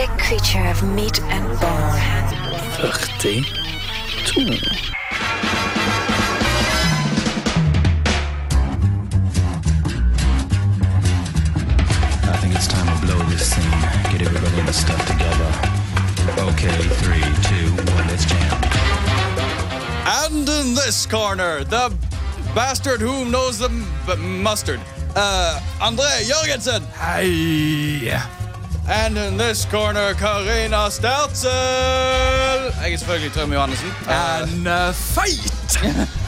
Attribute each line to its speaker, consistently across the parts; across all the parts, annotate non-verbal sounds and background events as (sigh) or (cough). Speaker 1: a creature of meat and bone.
Speaker 2: 42.
Speaker 3: I think it's time to blow this scene. Get everybody in the stuff together. Okay, three, two, one, let's jam.
Speaker 4: And in this corner, the bastard who knows the m- b- mustard, uh, Andre Jorgensen.
Speaker 5: Hei!
Speaker 4: And in this corner, Karina Sterzel. Jeg er selvfølgelig Trym Johannessen. (laughs) And
Speaker 5: En uh,
Speaker 4: (laughs)
Speaker 5: feit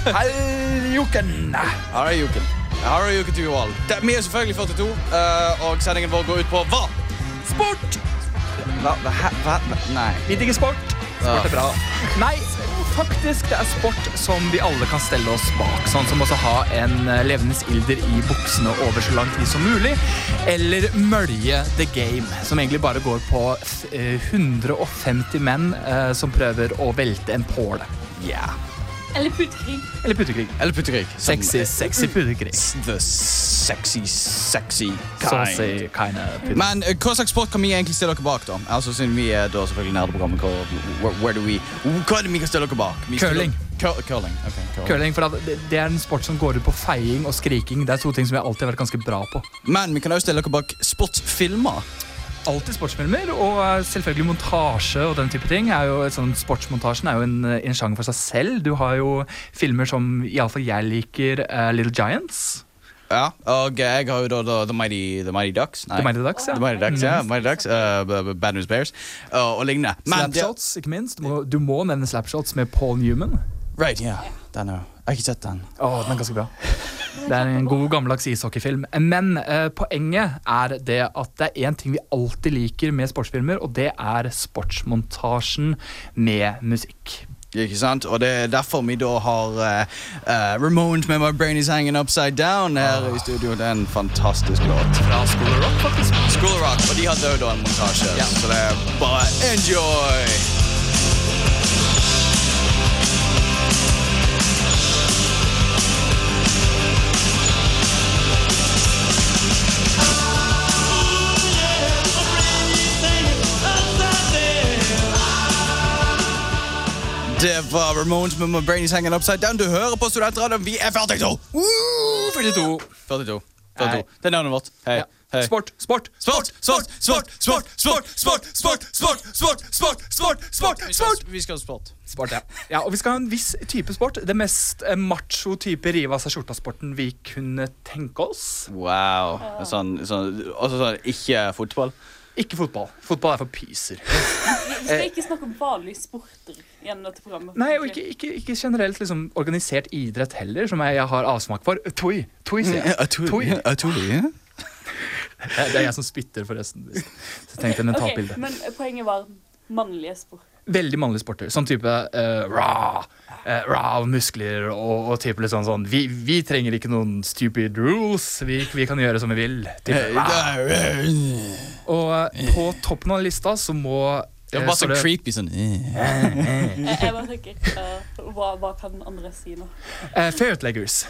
Speaker 5: helgjoken.
Speaker 4: her er Juken. Her er Juken to you all. Det, vi er selvfølgelig 42, eh, og sendingen vår går ut på hva?
Speaker 5: Sport!
Speaker 4: Hva? hva, hæ- hva, hva nei.
Speaker 5: Vi digger sport. Sport er bra. Nei, faktisk det er sport som vi alle kan stelle oss bak. Sånn som også ha en eh, levende ilder i buksene over så lang tid som mulig. Eller mølje the game, som egentlig bare går på eh, 150 menn eh, som prøver å velte en påle. Yeah.
Speaker 6: Eller puttekrig.
Speaker 5: Eller puttekrig.
Speaker 4: Eller puttekrig.
Speaker 5: Sexy, sexy puttekrig.
Speaker 4: The sexy, sexy
Speaker 5: Så å si kind of puttekrig.
Speaker 4: Men eh, hva slags sport kan vi egentlig stille dere bak, da? Altså, siden vi er da selvfølgelig nerdeprogrammet, hva- where, where do we, hva er det vi kan stille dere bak? Vi stiller-
Speaker 5: Curling.
Speaker 4: Cur curling, ok. Curling.
Speaker 5: Curling, for at det det er en sport som går ut på feiing og skriking. Det er to ting som jeg alltid har vært ganske bra på.
Speaker 4: Men vi kan også stille dere bak sportsfilmer.
Speaker 5: Alltid sportsfilmer, og eh, selvfølgelig montasje og den type ting. Er jo, et sånt- sportsmontasjen er jo en, eh, en sjanger for seg selv. Du har jo filmer som iallfall jeg liker, eh, Little Giants.
Speaker 4: Ja, og jeg har jo da, da The, Mighty, the Mighty Ducks. Nei.
Speaker 5: The Mighty Ducks, Mm. ja. Mhm.
Speaker 4: The Mighty Ducks, ja. Mighty Ducks, eh, b- b- Bad News Bears og- og lignende. Men det-
Speaker 5: Slapshots, ikke minst. Du må, du må nevne Slapshots med Paul Newman.
Speaker 4: Right, ja. Den er jo. Jeg har ikke sett den.
Speaker 5: Å, den er ganske bra. Det er en god, gammeldags ishockeyfilm. Men eh, poenget er det at det er én ting vi alltid liker med sportsfilmer, og det er sportsmontasjen med musikk.
Speaker 4: Ikke sant? Og det er derfor vi da har eh, eh, Ramones med My Brain Is Hanging Upside Down her i studio. Det er en fantastisk låt.
Speaker 5: Fra School of Rock, faktisk.
Speaker 4: School of Rock, og de hadde jo da en montasje, så det er bare enjoy! Det var Ramones med My Brain Is Hanging Upside Down. Du hører på Studentradioen. Vi er 42! Woo!
Speaker 5: 42.
Speaker 4: 42.
Speaker 5: Hei.
Speaker 4: 42. Det er navnet vårt. Hei.
Speaker 5: Ja.
Speaker 4: Hei.
Speaker 5: Sport, sport,
Speaker 4: Sport, sport, sport, sport, sport, sport, sport, sport, sport, sport, sport, sport, sport. Vi skal ha sport.
Speaker 5: Sport, ja. ja. Og vi skal ha en viss type sport. Det mest eh, macho type rive av seg skjorta-sporten vi kunne tenke oss.
Speaker 4: Wow. Sånn, sånn, også sånn ikke fotball.
Speaker 5: Ikke fotball. Fotball er for pyser.
Speaker 6: Vi skal ikke snakke om vanlige sporter gjennom dette programmet.
Speaker 5: Eh, Nei, og ikke, ikke, ikke generelt liksom, organisert idrett heller, som jeg, jeg har avsmak for. Toi. Toi, sier jeg. Toi. Det er- det er jeg som spytter, forresten. hvis- Så tenkte jeg
Speaker 6: Ok,
Speaker 5: mentalbilde.
Speaker 6: men poenget var mannlige
Speaker 5: (laughs)
Speaker 6: sport.
Speaker 5: Veldig mannlige sporter. Sånn type eh, raw. eh, raw muskler og, og type litt sånn sånn vi, vi trenger ikke noen stupid rules. Vi, vi kan gjøre som vi vil.
Speaker 4: Eh,
Speaker 5: Type, raw. Og eh, på toppen av lista så må
Speaker 4: Det
Speaker 5: eh,
Speaker 4: var bare
Speaker 5: så
Speaker 4: så creepy sånn.
Speaker 6: Jeg, jeg bare tenker, eh, hva, hva kan andre si nå?
Speaker 5: eh, Ferretleggers.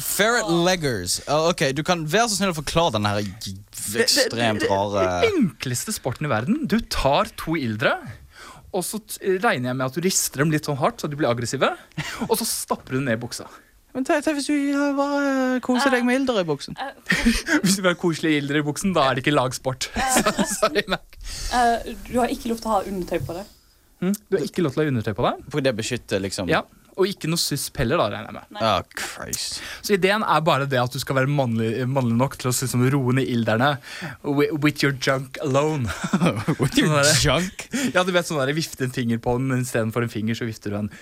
Speaker 4: Ferret leggers. Ja, Ok, du kan være så snill å forklare den her g- ekstremt
Speaker 5: Den
Speaker 4: rare
Speaker 5: enkleste sporten i verden. Du tar to ildre. Og så t- regner jeg med at du rister dem litt sånn hardt, så de blir aggressive. Og så stapper du dem ned i buksa. (laughs)
Speaker 4: Men tenk hvis du bare koser deg med ilder i buksen.
Speaker 6: Eh,
Speaker 5: Hvis du vil ha koselige ildre i buksen, da er det ikke lagsport. (laughs) Så, sorry, Mac.
Speaker 6: eh, du har ikke lov til å ha undertøy på deg.
Speaker 5: Mm. Du har ikke lov til å ha undertøy på deg.
Speaker 4: For det beskytter liksom
Speaker 5: Ja, Og ikke noe susp heller, da, regner jeg med.
Speaker 4: Ah, Christ.
Speaker 5: Så ideen er bare det at du skal være mannlig, mannlig nok til å liksom, roe ned ilderne wi- with your junk alone. (laughs)
Speaker 4: With your
Speaker 5: Sånn er det.
Speaker 4: junk.
Speaker 5: Ja, du vet sånn der, vifte en finger på den, men istedenfor en finger så vifter du en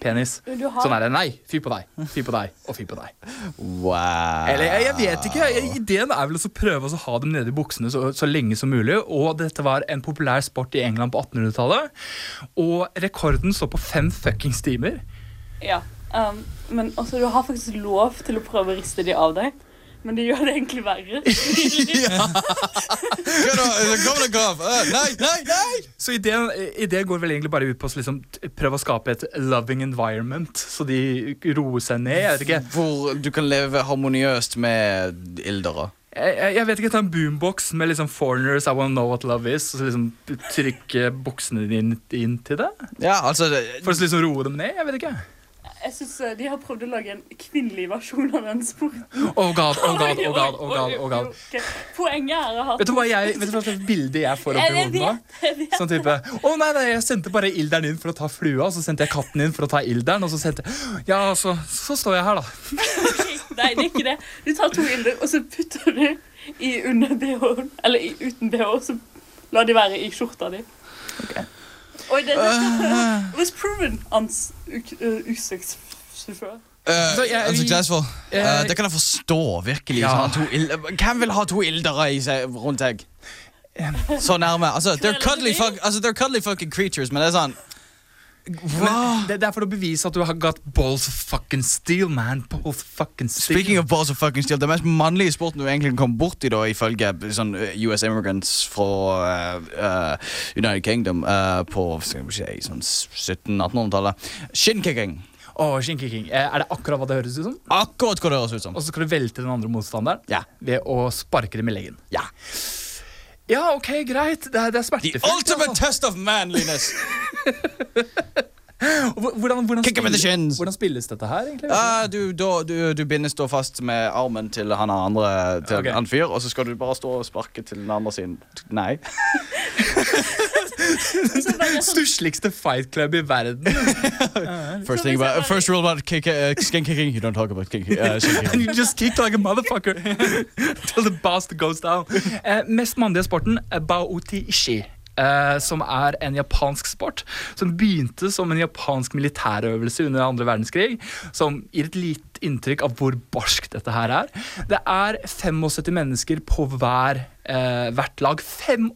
Speaker 5: penis.
Speaker 6: Du har-
Speaker 5: Sånn er det. Nei, fy på deg, fy på deg og fy på deg.
Speaker 4: Wow.
Speaker 5: Eller jeg, jeg vet ikke. Jeg, ideen er vel å prøve å ha dem nede i buksene så, så lenge som mulig. Og dette var en populær sport i England på 1800-tallet. Og rekorden står på fem fuckings timer.
Speaker 6: Ja. ehm, men altså, du har faktisk lov til å prøve å riste de av deg. Men det gjør det egentlig verre.
Speaker 4: Hva da? Kom deg av! Eh, Nei, nei, nei!
Speaker 5: Så ideen, ideen går vel egentlig bare ut på å liksom, t- prøve å skape et loving environment, så de roer seg ned. Jeg vet ikke.
Speaker 4: Hvor du kan leve harmoniøst med ildere.
Speaker 5: jeg, jeg vet ikke, ta en boombox med liksom 'Foreigners I Wanna Know What Love Is', og så liksom trykke buksene dine inn til det?
Speaker 4: Ja, altså det-
Speaker 5: For å liksom roe dem ned? Jeg vet ikke.
Speaker 6: Jeg synes eh, De har prøvd å lage en kvinnelig versjon av den sporten.
Speaker 5: Oh god, oh god, oh god, oh god, oh god.
Speaker 6: Ok, Poenget er å ha Eh,
Speaker 5: Vet du hva jeg, vet du hva slags bilde jeg får opp i
Speaker 6: Jeg
Speaker 5: hodet nå?
Speaker 6: vet, jeg vet.
Speaker 5: Sånn type Å nei, nei, jeg sendte bare ilderen inn for å ta flua, og så sendte jeg katten inn for å ta ilderen, og så sendte Ja, så, så står jeg her, da.
Speaker 6: Nei, det er ikke det. Du tar to ilder, og så putter du i under BH-en. Eller i, uten BH, og så lar de være i skjorta di. Oi, det, det was proven uns, uk- uh, usuksessful.
Speaker 4: eh,
Speaker 5: Så jeg-
Speaker 4: unsuccessful.
Speaker 5: jeg-
Speaker 4: Eh, det kan jeg forstå, virkelig.
Speaker 5: Ja.
Speaker 4: Sånn, to ild- Hvem vil ha to ildere i seg, rundt seg? Så nærme. Altså, they're cuddly, fuck, altså, they're cuddly fucking creatures, men det er sånn wow.
Speaker 5: Men ah, det, det er for å bevise at du har got balls of fucking steel, man. Balls of fucking steel.
Speaker 4: Speaking of balls of fucking steel, det mest mannlige sporten du egentlig kan komme bort i, da, ifølge sånn US immigrants fra eh, eh, United Kingdom eh, på skal vi si, sånn 1700-1800-tallet. Shinnkicking.
Speaker 5: Åh, skinkeking. Eh, Er det akkurat hva det høres ut som?
Speaker 4: Akkurat hva det høres ut som.
Speaker 5: Og så skal du velte den andre motstanderen
Speaker 4: Ja.
Speaker 5: ved å sparke det med leggen.
Speaker 4: ja.
Speaker 5: Ja, ok, greit. Det er, det er
Speaker 4: The
Speaker 5: smertefullt.
Speaker 4: ultimate
Speaker 5: altså.
Speaker 4: test of manliness.
Speaker 5: Hvor- Hvordan, hvordan,
Speaker 4: Kick him in the
Speaker 5: spiller-
Speaker 4: shins.
Speaker 5: hvordan spilles dette her, egentlig?
Speaker 4: (laughs) Ah, du, da, du, du bindes da fast med armen til han andre til
Speaker 5: Ok.
Speaker 4: en fyr, og så skal du bare stå og sparke til den andre sin Nei.
Speaker 6: Så bare sånn,
Speaker 5: Stussligste fight club i verden.
Speaker 4: First, thing about, first rule about kick, eh, skin kicking, you don't talk about kick, eh, shin
Speaker 5: And
Speaker 4: kicking.
Speaker 5: (laughs) you just kick like a motherfucker (laughs) till the bastard goes down. (laughs) Eh, mest mannlige sporten er baotishi. Eh, som er en japansk sport som begynte som en japansk militærøvelse under andre verdenskrig. Som gir et litt inntrykk av hvor barsk dette her er. Det er 75 mennesker på hver, eh, hvert lag. 75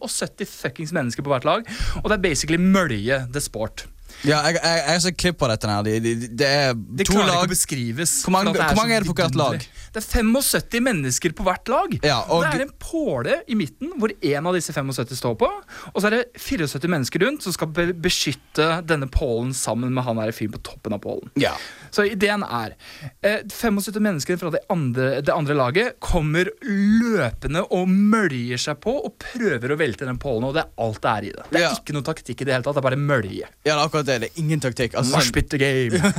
Speaker 5: fuckings mennesker på hvert lag. Og det er basically mølje the sport.
Speaker 4: Ja, jeg, jeg, jeg har sett klipp av dette. her de, de, Det er
Speaker 5: Det
Speaker 4: to
Speaker 5: klarer
Speaker 4: lag
Speaker 5: ikke å beskrives.
Speaker 4: Hvor mange-
Speaker 5: for at
Speaker 4: hvor mange
Speaker 5: så
Speaker 4: er det på hvert lag?
Speaker 5: vidunderlig. Det er 75 mennesker på hvert lag.
Speaker 4: Ja, og
Speaker 5: det er en påle i midten hvor én av disse 75 står på. Og så er det 74 mennesker rundt som skal be beskytte denne pålen sammen med han her fyren på toppen av pålen.
Speaker 4: Ja.
Speaker 5: Så ideen er eh, 75 mennesker fra det andre, det andre laget kommer løpende og møljer seg på og prøver å velte den pålen, og det er alt det er i det. Det er
Speaker 4: Ja.
Speaker 5: ikke noe taktikk i det hele tatt, det er bare mølje.
Speaker 4: Ja, det er akkurat det. Det er ingen taktikk. Altså, sånn-
Speaker 5: Moshpit the game.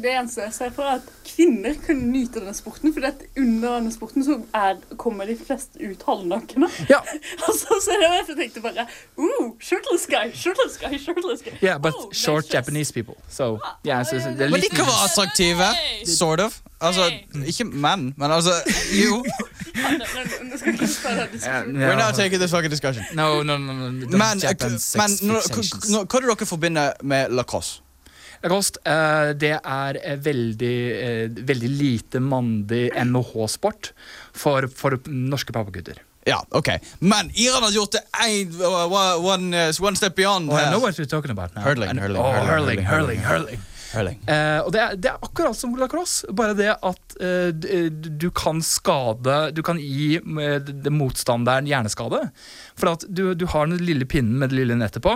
Speaker 6: det eneste jeg ser for er at kvinner kan nyte denne sporten, fordi at under denne sporten så er, kommer de fleste ut halvnakne. (laughs)
Speaker 5: Ja,
Speaker 6: Altså, så det var jeg tenkte bare uh, Shirtless guy, shirtless guy, shirtless guy.
Speaker 5: Yeah, but
Speaker 6: Oh,
Speaker 5: short
Speaker 6: nature's-
Speaker 5: Japanese people. So, Ah, yeah, so, so det er
Speaker 4: men de
Speaker 5: litt
Speaker 4: kan være sånn- attraktive.
Speaker 6: Hey!
Speaker 4: Sort of. Altså,
Speaker 6: Hey!
Speaker 4: ikke menn, men altså Jo.
Speaker 6: Nei, nei, nei, Nå skal jeg ikke ta den diskusjonen.
Speaker 4: We're now taking this fucking discussion.
Speaker 5: No, no, no, no, no.
Speaker 4: Men, eh,
Speaker 5: Japan sex
Speaker 4: men nå-
Speaker 5: fixations.
Speaker 4: nå- hva er det dere forbinder med lacrosse?
Speaker 5: Lacoste, eh, det er eh, veldig, eh, veldig lite mandig NHH-sport for, for norske pappagutter.
Speaker 4: Ja, ok. Men Iran har gjort det en, uh, one, one, one step beyond.
Speaker 5: Oh, I
Speaker 4: her.
Speaker 5: know what you're talking about now.
Speaker 4: Hurling,
Speaker 5: I know-
Speaker 4: hurling,
Speaker 5: oh,
Speaker 4: hurling, hurling,
Speaker 5: hurling, hurling, hurling.
Speaker 4: Hurling.
Speaker 5: Eh, og det er, det er akkurat som lacrosse, bare det at eh, d- du kan skade Du kan gi eh, d- d- motstanderen hjerneskade. For at du, du har den lille pinnen med det lille nettet på,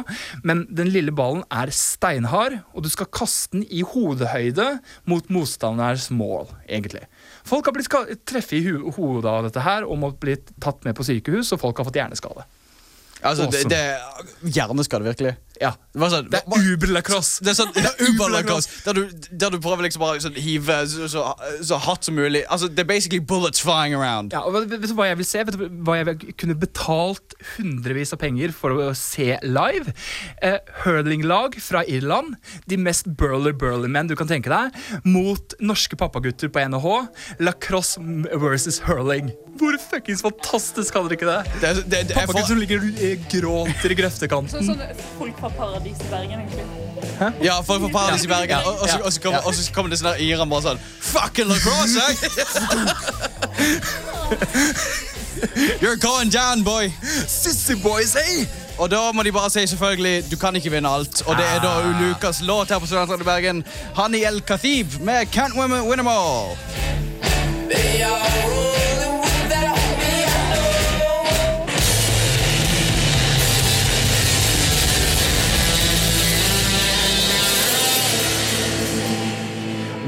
Speaker 5: men den lille ballen er steinhard, og du skal kaste den i hodehøyde mot motstanderens mål, egentlig. Folk har blitt ska- treffet i hu hodet av dette her og måtte bli tatt med på sykehus, og folk har fått hjerneskade.
Speaker 4: Altså, det,
Speaker 5: Awesome.
Speaker 4: det Hjerneskade, virkelig.
Speaker 5: Ja.
Speaker 4: Det var sånn
Speaker 5: Det er uber-lacrosse!
Speaker 4: Det er sånn, det er uber-lacrosse, der, du- der du prøver liksom bare sånn, hive så, så, så hardt som mulig. Altså, Det er basically bullets flying around.
Speaker 5: Ja, og vet, vet du hva jeg vil se? Vet du hva jeg vil- kunne betalt hundrevis av penger for å se live? Eh, Hurlinglag fra Irland, de mest burler-burler-menn du kan tenke deg, mot norske pappagutter på NHH. Lacrosse versus hurling. Hvor fuckings fantastisk hadde dere ikke det?
Speaker 4: Det, er- det, det, jeg,
Speaker 5: Pappagutter som
Speaker 4: får,
Speaker 5: ligger eh, gråter i grøftekanten.
Speaker 6: Sånn som folk fra Paradis i Bergen, egentlig.
Speaker 4: ja, folk fra Paradis i Bergen. Og, og, så, og, så kommer, og så kommer det sånn der Iran bare sånn Fucking lacrosse! eh!" jeg!» You're going down, boy.
Speaker 5: Sissy boys, hey!
Speaker 4: Og da må de bare si selvfølgelig du kan ikke vinne alt. Og det er da Lukas låt her på Studentradioen i Bergen. Han i El Kathib med Can't Women Win 'Em All.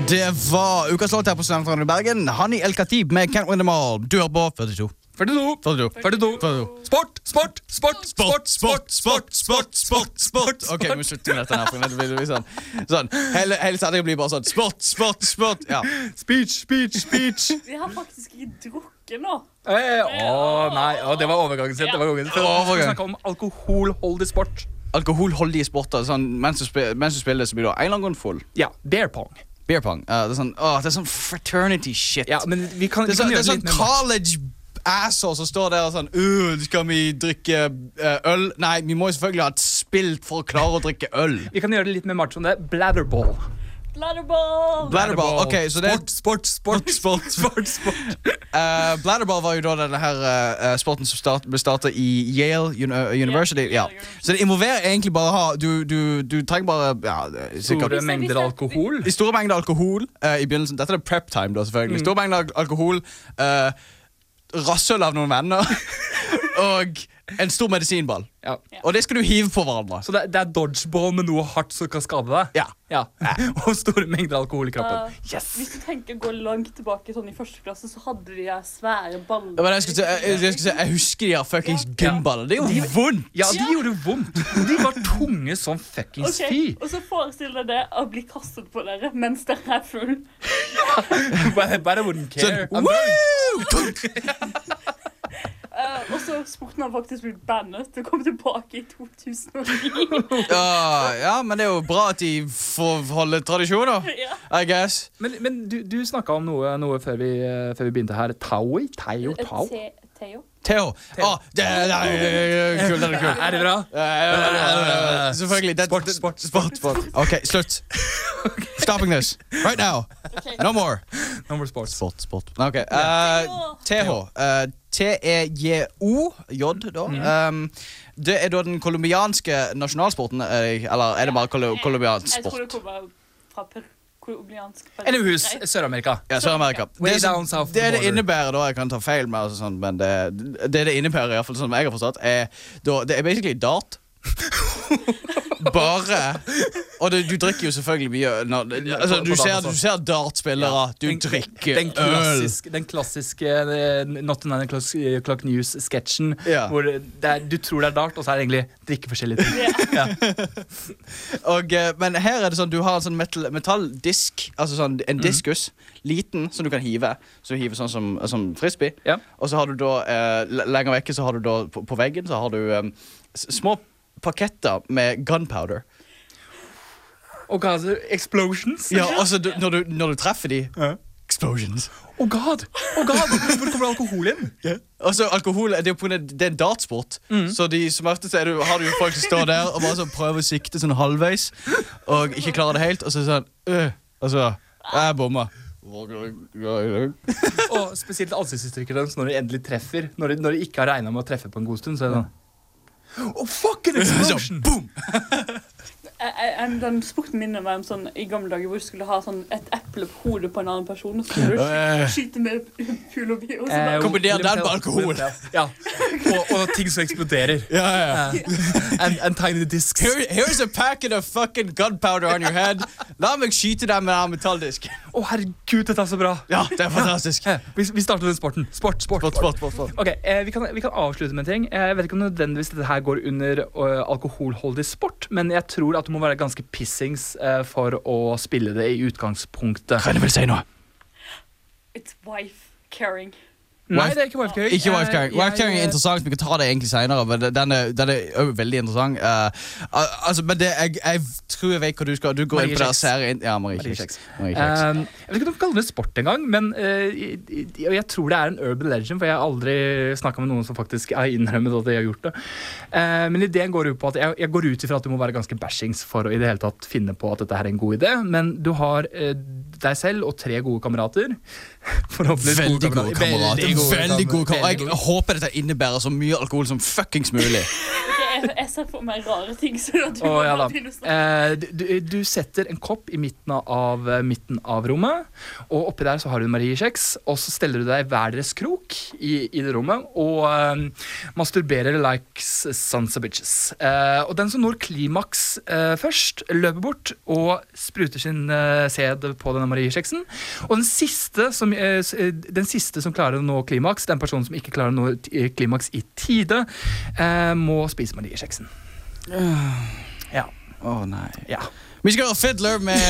Speaker 4: Det var ukas låt her på Studentradioen i Bergen. Hani El Khatib med Can't Win Them All. Du er på 42.
Speaker 5: 42,
Speaker 4: 42.
Speaker 5: 42. Sport, sport, sport, sport, sport, sport, sport, sport, sport.
Speaker 4: Ok, vi må slutte med dette her. for nå blir det Sånn, sånn. Hele, hele sendingen blir bare sånn sport, sport, sport. Ja.
Speaker 5: Speech, speech, speech.
Speaker 6: Vi har faktisk ikke drukket nå.
Speaker 5: Eh, å nei, å, det var overgangen sin. Det var overgangen sin.
Speaker 4: Overgang.
Speaker 5: Vi skal snakke om alkoholholdig sport.
Speaker 4: Alkoholholdige sporter. Sånn, mens, du spiller, mens du spiller, så blir du en eller annen grunn full.
Speaker 5: Ja, beer pong.
Speaker 4: Beer pong. Ja, det, er sånn, åh, det er sånn fraternity shit.
Speaker 5: Ja, men vi kan,
Speaker 4: det
Speaker 5: vi
Speaker 4: er sånn, det er sånn
Speaker 5: kan gjøre det litt mer mat.
Speaker 4: college asshole som står der og sånn «Øh, Skal vi drikke eh, øl? Nei, vi må jo selvfølgelig ha et spill for å klare å drikke øl.
Speaker 5: Vi kan gjøre det litt mer macho som det. Bladderball.
Speaker 6: Bladderball!
Speaker 4: Bladderball. Ok, så det
Speaker 5: Sport, sport, sport, sport, sport, sport.
Speaker 4: Eh, Bladderball var jo da denne her eh, eh, sporten som start, ble startet i Yale Uni- eh, University.
Speaker 6: Ja.
Speaker 4: Ja. Så det involverer egentlig bare å ha Du, du, du trenger bare ja, det er sikkert
Speaker 5: Store mengder alkohol.
Speaker 4: I store mengder alkohol eh, i begynnelsen Dette er prep time, da,
Speaker 5: Mm.
Speaker 4: selvfølgelig. I store mengder al- alkohol, uh, rasshøl av noen venner (laughs) og en stor medisinball.
Speaker 5: Ja.
Speaker 4: Og det skal du hive på hverandre.
Speaker 5: Så det, det er dodgeball med noe hardt som kan skade deg?
Speaker 4: Ja.
Speaker 5: (laughs) Og store mengder alkohol i kroppen.
Speaker 6: Uh, Hvis du tenker å gå langt tilbake sånn i første klasse, så hadde de her svære ballene.
Speaker 4: Ja, men jeg, skulle si, jeg, jeg, skulle si, jeg husker de her fuckings gymballer. Det er jo vondt!
Speaker 5: Ja, de gjorde vondt. De var tunge som fuckings
Speaker 6: Ok, Og så forestill deg det å bli kastet på dere mens dere er full.
Speaker 5: fy. But, but I wouldn't care.
Speaker 4: Sånn, woo!
Speaker 6: Eh, og så sporten har faktisk blitt bandet og kom tilbake i
Speaker 4: (laughs)
Speaker 6: 2009.
Speaker 4: Ja, ja, men det er jo bra at de får holde tradisjoner,
Speaker 6: ja.
Speaker 4: I guess.
Speaker 5: Men, men du, du snakka om noe, noe før, vi, eh, før vi begynte her. Taui? Teo?
Speaker 6: Eh,
Speaker 5: Tao?
Speaker 6: Te- Theo?
Speaker 4: Theo. Å, det er det er kult. Det er kult.
Speaker 5: Er det bra?
Speaker 4: Ja, ja, ja, ja, Selvfølgelig. Det,
Speaker 5: Sport, sport,
Speaker 4: sport, sport. OK, slutt. Stopping this. Right now. No more.
Speaker 5: Number sports.
Speaker 4: Sport, sport. Ok. eh, TH. eh, T-E-J-O. J, da. Um, det er da den colombianske nasjonalsporten. eh, Eller er det bare colo- colombiansk
Speaker 6: Jeg tror det
Speaker 4: sport?
Speaker 6: kommer fra per kolumbiansk per-
Speaker 5: Eller hus.
Speaker 6: Nei,
Speaker 5: Sør-Amerika.
Speaker 4: Ja, Sør-Amerika.
Speaker 5: Way
Speaker 4: som-
Speaker 5: down south of the
Speaker 4: det det
Speaker 5: border.
Speaker 4: innebærer, da, jeg kan ta feil med altså, sånn, men det, det det innebærer, i hvert fall sånn som jeg har forstått, er da, Det er basically
Speaker 5: (laughs)
Speaker 4: dart. Bare Og du, du drikker jo selvfølgelig mye øl når, altså, du, ser, du ser dartspillere, du
Speaker 5: Den-
Speaker 4: drikker
Speaker 5: den
Speaker 4: øl.
Speaker 5: klassiske, den klassiske eh, Not Another Clock, Clock News-sketsjen.
Speaker 4: Ja.
Speaker 5: Hvor det er, du tror det er dart, og så er det egentlig drikke
Speaker 4: (laughs)
Speaker 5: forskjellige ting.
Speaker 4: Og, eh, men her er det sånn du har en sånn metal, metalldisk, altså sånn
Speaker 5: Mhm.
Speaker 4: en diskus, liten, som du kan hive. Så du hiver sånn som, som frisbee.
Speaker 5: Ja.
Speaker 4: Og så har du da, eh, le- lenger vekke, så har du da på, på veggen så har du eh, s- små paketter med gunpowder.
Speaker 5: Oh god, explosions?
Speaker 4: Ja, altså du, når, du, når du treffer de
Speaker 5: Ja.
Speaker 4: Explosions.
Speaker 5: Oh god, oh god, Hvor kommer alkohol inn?
Speaker 4: Altså, alkohol det er, jo på, grunn av- det er en dartsport, så de, som ofte så er det, jo- har du jo folk som står der og bare sånn prøver å sikte sånn halvveis og ikke klarer det helt, og så sånn øh, Altså, jeg bomma.
Speaker 5: Og Spesielt ansiktsuttrykket deres når de endelig treffer. Når de, når de ikke har regna med å treffe på en god stund. Så er det sånn Oh,
Speaker 4: (laughs)
Speaker 5: fuck an explosion!
Speaker 6: jeg- jeg- jeg- Den sporten minner meg om sånn i gamle dager hvor du skulle ha sånn et eple på hodet på en annen person, og så skulle du
Speaker 4: Eh.
Speaker 6: sky- skyte med pul og bi, og så
Speaker 5: Eh,
Speaker 6: bare
Speaker 4: Kombiner den med
Speaker 5: William Tell-
Speaker 4: alkohol.
Speaker 5: William Tell.
Speaker 4: (laughs)
Speaker 5: Ja. Og, og ting som eksploderer.
Speaker 4: Ja, ja.
Speaker 5: And, and tiny discs.
Speaker 4: Here, here's a packet of fucking gunpowder on your head. La meg skyte deg med den metalldisken.
Speaker 5: Å, herregud, dette er så bra!
Speaker 4: Ja, det er fantastisk.
Speaker 5: Eh, Vi, vi starter den sporten. Sport, sport.
Speaker 4: Sport, sport, sport, sport.
Speaker 5: Ok, eh, vi, kan, vi kan avslutte med en ting. Eh, Jeg vet ikke om nødvendigvis dette her går under eh, alkoholholdig sport, men jeg tror at du må være ganske pissings eh, for å spille det i utgangspunktet.
Speaker 4: Kan jeg vel si noe?
Speaker 6: It's wife carrying.
Speaker 5: Nei, det er ikke wifecarrying.
Speaker 4: Ikke wife carrying.
Speaker 5: Eh,
Speaker 4: Wife carrying er
Speaker 5: jeg-
Speaker 4: interessant. Vi kan ta det egentlig senere, men det- den er, den er også veldig interessant. Eh, al- altså, men det, jeg, jeg tror jeg vet hvor du skal. Du går inn
Speaker 5: Marie
Speaker 4: på der
Speaker 5: Kjeks.
Speaker 4: serien. Ja, Marie
Speaker 5: Marie
Speaker 4: Kjeks.
Speaker 5: Kjeks.
Speaker 4: Marie Kjeks.
Speaker 5: Eh, jeg vet ikke om du kaller det sport engang, men eh, i- i- og jeg tror det er en urban legend, for jeg har aldri snakka med noen som faktisk har innrømmet at de har gjort det. Eh, men ideen går ut på at jeg, jeg går ut ifra at du må være ganske bashings for å i det hele tatt finne på at dette her er en god idé, men du har eh, deg selv og tre gode kamerater. (laughs) Forhåpentligvis
Speaker 4: Veldig gode kamerater. Veldig gode kamerater.
Speaker 5: Veldig
Speaker 4: Jeg håper dette innebærer så mye alkohol som fuckings mulig.
Speaker 6: Ok, jeg, jeg ser for meg rare ting. Så da du
Speaker 5: Å,
Speaker 6: må
Speaker 5: ja da.
Speaker 6: bare begynne å snakke.
Speaker 5: Eh, du, du setter en kopp i midten av, eh, midten av rommet, og oppi der så har du en mariekjeks. Og så steller du deg i hver deres krok i, i det rommet og eh, masturberer like s- sons of bitches. Eh, og den som når klimaks eh, først, løper bort og spruter sin eh, sæd på denne mariekjeksen. Og den siste, som, eh, s- eh, den siste som klarer å nå klimaks, den personen som ikke klarer å nå t- eh, klimaks i tide, eh, må spise mariekjeksen. Ja.
Speaker 4: Å nei.
Speaker 5: Ja.
Speaker 4: Vi skal høre Fiddler med,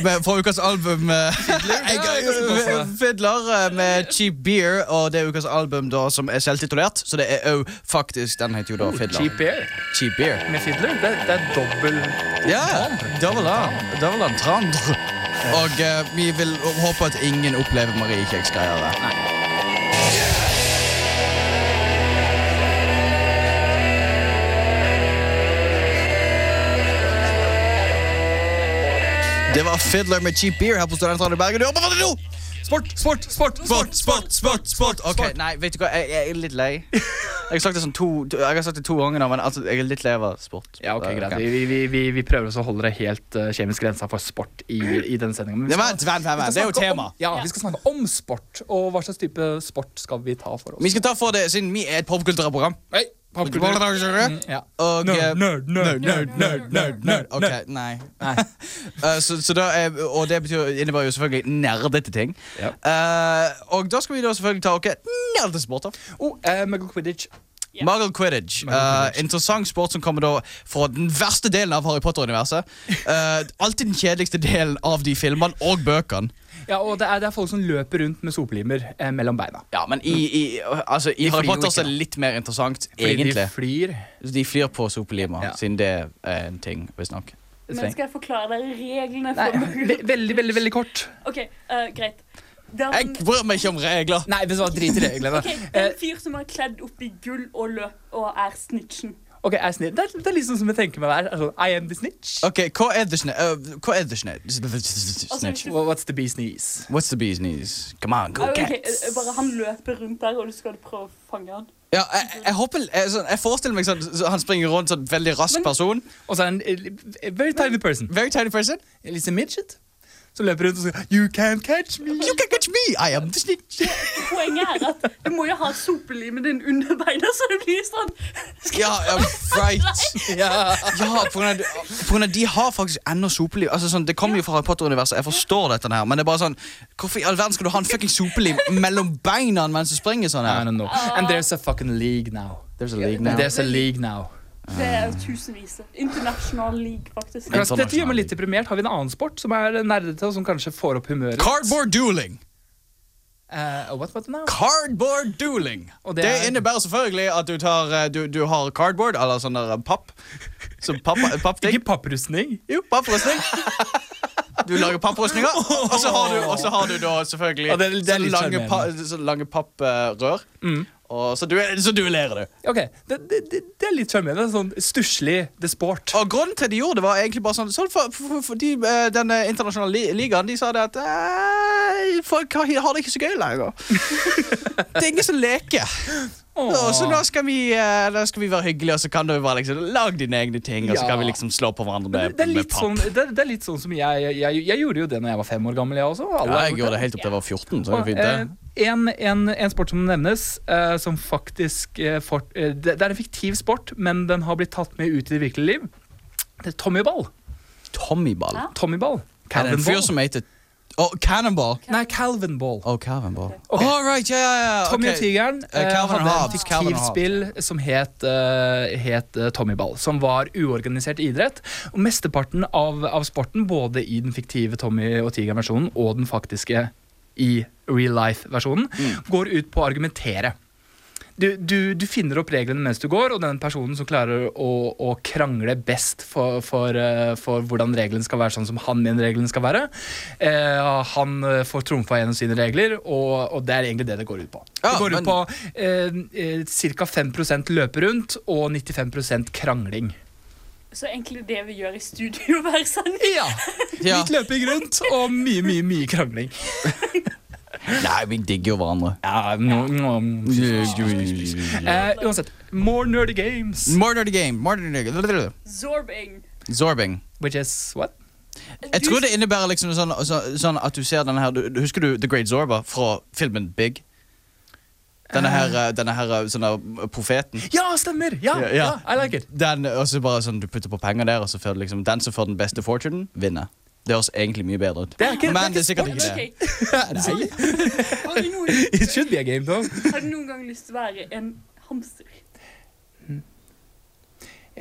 Speaker 4: med fra ukas album eh, Jeg-
Speaker 5: ja,
Speaker 4: Fiddler eh, med Cheap Beer, og det er ukas album da som er selvtitulert. Så det er òg faktisk Den heter jo da Fiddler.
Speaker 5: Cheap Air
Speaker 4: Cheap Beer.
Speaker 5: med Fiddler. Det, det er dobbel
Speaker 4: Ja, double A. Double A Trandr. Og eh, vi vil håpe at ingen opplever Marie Kjeks-greier der. Det var Fiddler med Cheap Beer her på Studentradio Bergen. Du jobber for det nå! Sport, sport, sport, sport, sport, sport, sport. Ok, nei, vet du hva, jeg, jeg er litt lei. Jeg har sagt det sånn to, jeg har sagt det to ganger nå, men altså, jeg er litt lei av sport.
Speaker 5: Ja, ok, greit. Vi, vi, vi, vi prøver også å holde det helt eh, kjemisk rensa for sport i, i denne sendinga.
Speaker 4: Nei, vent, vent, vent, vent. Det er jo tema.
Speaker 5: Ja, vi skal snakke om sport, og hva slags type sport skal vi ta for oss?
Speaker 4: Vi skal ta for det, siden vi er et popkulturelt program.
Speaker 5: Hei, popkultur.
Speaker 4: Og,
Speaker 5: Ja.
Speaker 4: eh,
Speaker 5: nerd, nerd, nerd, nerd, nerd, nerd.
Speaker 4: Ok, nei.
Speaker 5: Nei.
Speaker 4: (laughs) Eh, så, så da er, og det betyr, innebærer jo selvfølgelig nerdete ting.
Speaker 5: Ja.
Speaker 4: Eh, og da skal vi da selvfølgelig ta ok, nerdesporter.
Speaker 5: Oh, eh, Muggle Quidditch.
Speaker 6: Ja.
Speaker 4: Muggle Quidditch.
Speaker 5: Muggle
Speaker 4: eh, interessant sport som kommer da fra den verste delen av Harry (laughs) Potter-universet. Eh, alltid den kjedeligste delen av de filmene og bøkene.
Speaker 5: Ja, og det er, det er folk som løper rundt med sopelimer eh, mellom beina.
Speaker 4: Ja, men i, i, altså, i Harry
Speaker 5: flyr jo
Speaker 4: Potter så
Speaker 5: ikke,
Speaker 4: er det litt mer interessant,
Speaker 5: Fordi
Speaker 4: egentlig.
Speaker 5: de flyr.
Speaker 4: De, flyr på sopelimer,
Speaker 5: Ja.
Speaker 4: siden det er en ting, visstnok.
Speaker 6: Men skal jeg forklare dere reglene?
Speaker 5: Nei,
Speaker 6: For
Speaker 5: ve veldig, veldig, veldig kort.
Speaker 6: Ok, eh, greit. Det er
Speaker 4: Jeg
Speaker 6: en,
Speaker 4: bryr meg ikke om regler.
Speaker 5: Nei, vet du hva, drit i reglene.
Speaker 6: ok, det er en
Speaker 5: eh.
Speaker 6: fyr som er kledd opp i gull og løp og er snitchen.
Speaker 5: (laughs) Ok, jeg er snill. Det er, det er litt sånn som jeg tenker meg der. Altså, I am the snitch.
Speaker 4: Ok, hva er det sne... Uh, hva er det sne...
Speaker 6: Altså,
Speaker 4: Snitch.
Speaker 6: hvis du,
Speaker 5: Wha- What's the bee's knees?
Speaker 4: What's the bee's knees? Come on, go
Speaker 6: Ah, ok,
Speaker 4: cats.
Speaker 6: eh, bare han løper rundt der, og du skal prøve å fange han.
Speaker 4: Ja, jeg, jeg håper... Jeg, sånn, jeg forestiller meg sånn... Så han springer rundt sånn veldig rask
Speaker 6: Men-
Speaker 4: person.
Speaker 5: Og så er det en eh, eh, very tiny person.
Speaker 4: Very tiny person.
Speaker 5: En liten midget. Som løper rundt og sier You can't catch me.
Speaker 4: You can catch me! I am the snitch.
Speaker 6: Poenget er at du må jo ha sopelimen din under beina, så det blir sånn.
Speaker 4: (laughs) Ja, ja, right.
Speaker 5: (laughs) Ja.
Speaker 4: Ja, på grunn av, på grunn av de har faktisk ennå sopeliv. Altså, sånn, det kommer jo fra Harry Potter-universet, jeg forstår dette her, men det er bare sånn Hvorfor i all verden skal du ha en fucking sopeliv mellom beina mens du springer sånn
Speaker 5: I
Speaker 4: her?
Speaker 5: don't know. And there's a fucking league now.
Speaker 4: There's a league now.
Speaker 5: There's a league now.
Speaker 6: Det er tusenvis. International league, faktisk.
Speaker 4: Ja.
Speaker 5: Kanskje Dette gjør meg litt deprimert. Har vi en annen sport som er nerdete, og som kanskje får opp humøret?
Speaker 4: Cardboard dueling.
Speaker 5: Eh, what about now?
Speaker 4: Cardboard dueling.
Speaker 5: Og
Speaker 4: det,
Speaker 5: det er-
Speaker 4: innebærer selvfølgelig at du, tar, eh, du, du har cardboard, eller sånn der eh, papp. Så papp, pappting.
Speaker 5: Ikke papprustning.
Speaker 4: Jo, papprustning. Du lager
Speaker 5: (laughs)
Speaker 4: papprustninger, og så har du, og så har du da selvfølgelig
Speaker 5: Og det er- det er
Speaker 4: sånne
Speaker 5: litt Mm.
Speaker 4: lange, pa,
Speaker 5: sjarmerende.
Speaker 4: sånne lange papprør. Og så, du, så duellerer du.
Speaker 5: Ok, Det, det, det det er litt sjarmerende. Sånn stusslig the sport.
Speaker 4: Og grunnen til at de gjorde det, var egentlig bare sånn, sånn for, for, for de, eh, Den eh, internasjonale li ligaen de sa det at eh, folk har, har det ikke så gøy
Speaker 5: (laughs)
Speaker 4: lenger. det er ingen som leker. Og så da skal, vi, eh, da skal vi være hyggelige, og så kan du bare liksom lage dine egne ting. Og så
Speaker 5: Ja.
Speaker 4: kan vi liksom slå på hverandre
Speaker 5: Men
Speaker 4: med,
Speaker 5: det, det, er
Speaker 4: med
Speaker 5: litt
Speaker 4: papp.
Speaker 5: sånn, det, det er litt sånn som jeg, jeg, jeg, jeg gjorde jo det når jeg var fem år gammel, jeg også. og
Speaker 4: Ja,
Speaker 5: alle har
Speaker 4: jeg
Speaker 5: gjort
Speaker 4: gjorde det helt opp til jeg var 14. så det var fint
Speaker 5: Eh,
Speaker 4: det.
Speaker 5: en, en, en sport som nevnes, eh, som faktisk eh, for, eh, det, det er en fiktiv sport, men den har blitt tatt med ut i det virkelige liv. Det er Tommyball.
Speaker 4: Tommyball.
Speaker 6: Ja.
Speaker 5: Tommyball.
Speaker 4: Er det en fyr
Speaker 5: Calvinball.
Speaker 4: som heter Å, Cannonball.
Speaker 5: Nei, Calvinball.
Speaker 4: Å, Cannonball.
Speaker 5: Ok.
Speaker 4: All right, ja, ja, ja.
Speaker 5: Tommy
Speaker 4: ok.
Speaker 5: og tigeren
Speaker 4: Eh,
Speaker 5: eh,
Speaker 4: Calvin
Speaker 5: hadde
Speaker 4: og
Speaker 5: et
Speaker 4: Hobbes, Calvin
Speaker 5: fiktivt
Speaker 4: og
Speaker 5: spill som het, eh, het eh, Tommyball, som var uorganisert idrett. Og mesteparten av, av sporten, både i den fiktive Tommy og tigeren-versjonen og den faktiske i real life-versjonen,
Speaker 4: Mm.
Speaker 5: går ut på å argumentere. Du, du, du finner opp reglene mens du går, og den personen som klarer å, å krangle best for, for, eh, for hvordan reglene skal være sånn som han mener reglene skal være, eh, han eh, får trumfa gjennom sine regler, og, og det er egentlig det det går ut på.
Speaker 4: Ja,
Speaker 5: det går
Speaker 4: men-
Speaker 5: ut på eh, eh, ca. 5 løpe rundt og 95 krangling.
Speaker 6: Så egentlig det vi gjør i studio (laughs)
Speaker 5: (laughs)
Speaker 6: hver sending.
Speaker 5: Ja!
Speaker 4: Ja.
Speaker 5: Litt løping rundt og mye, mye, mye krangling.
Speaker 4: Nei, vi digger jo hverandre.
Speaker 5: Ja, mm, mm, mm. Eh, uansett. More nerdy games.
Speaker 4: Murder the game. Murder the game.
Speaker 6: Zorbing.
Speaker 4: Zorbing.
Speaker 5: Which is what?
Speaker 4: Jeg tror det innebærer liksom sånn, sånn, sånn at du ser denne her du, du- Husker du The Great Zorba fra filmen Big? Denne her, eh, denne her eh, sånn der profeten.
Speaker 5: Ja, stemmer! Ja,
Speaker 4: Ja,
Speaker 5: ja,
Speaker 4: ja.
Speaker 5: I like it.
Speaker 4: Den, og så bare sånn, Du putter på penger der, og så får du liksom den som får den beste fortunen, vinner. Det høres egentlig mye bedre ut.
Speaker 5: Det er ikke-
Speaker 4: Men det er
Speaker 5: det er
Speaker 4: sikkert ikke det.
Speaker 6: Ok.
Speaker 5: (laughs)
Speaker 6: (laughs) Har du noen,
Speaker 5: It should be a game, though.
Speaker 6: har du noen gang lyst til å være en hamster?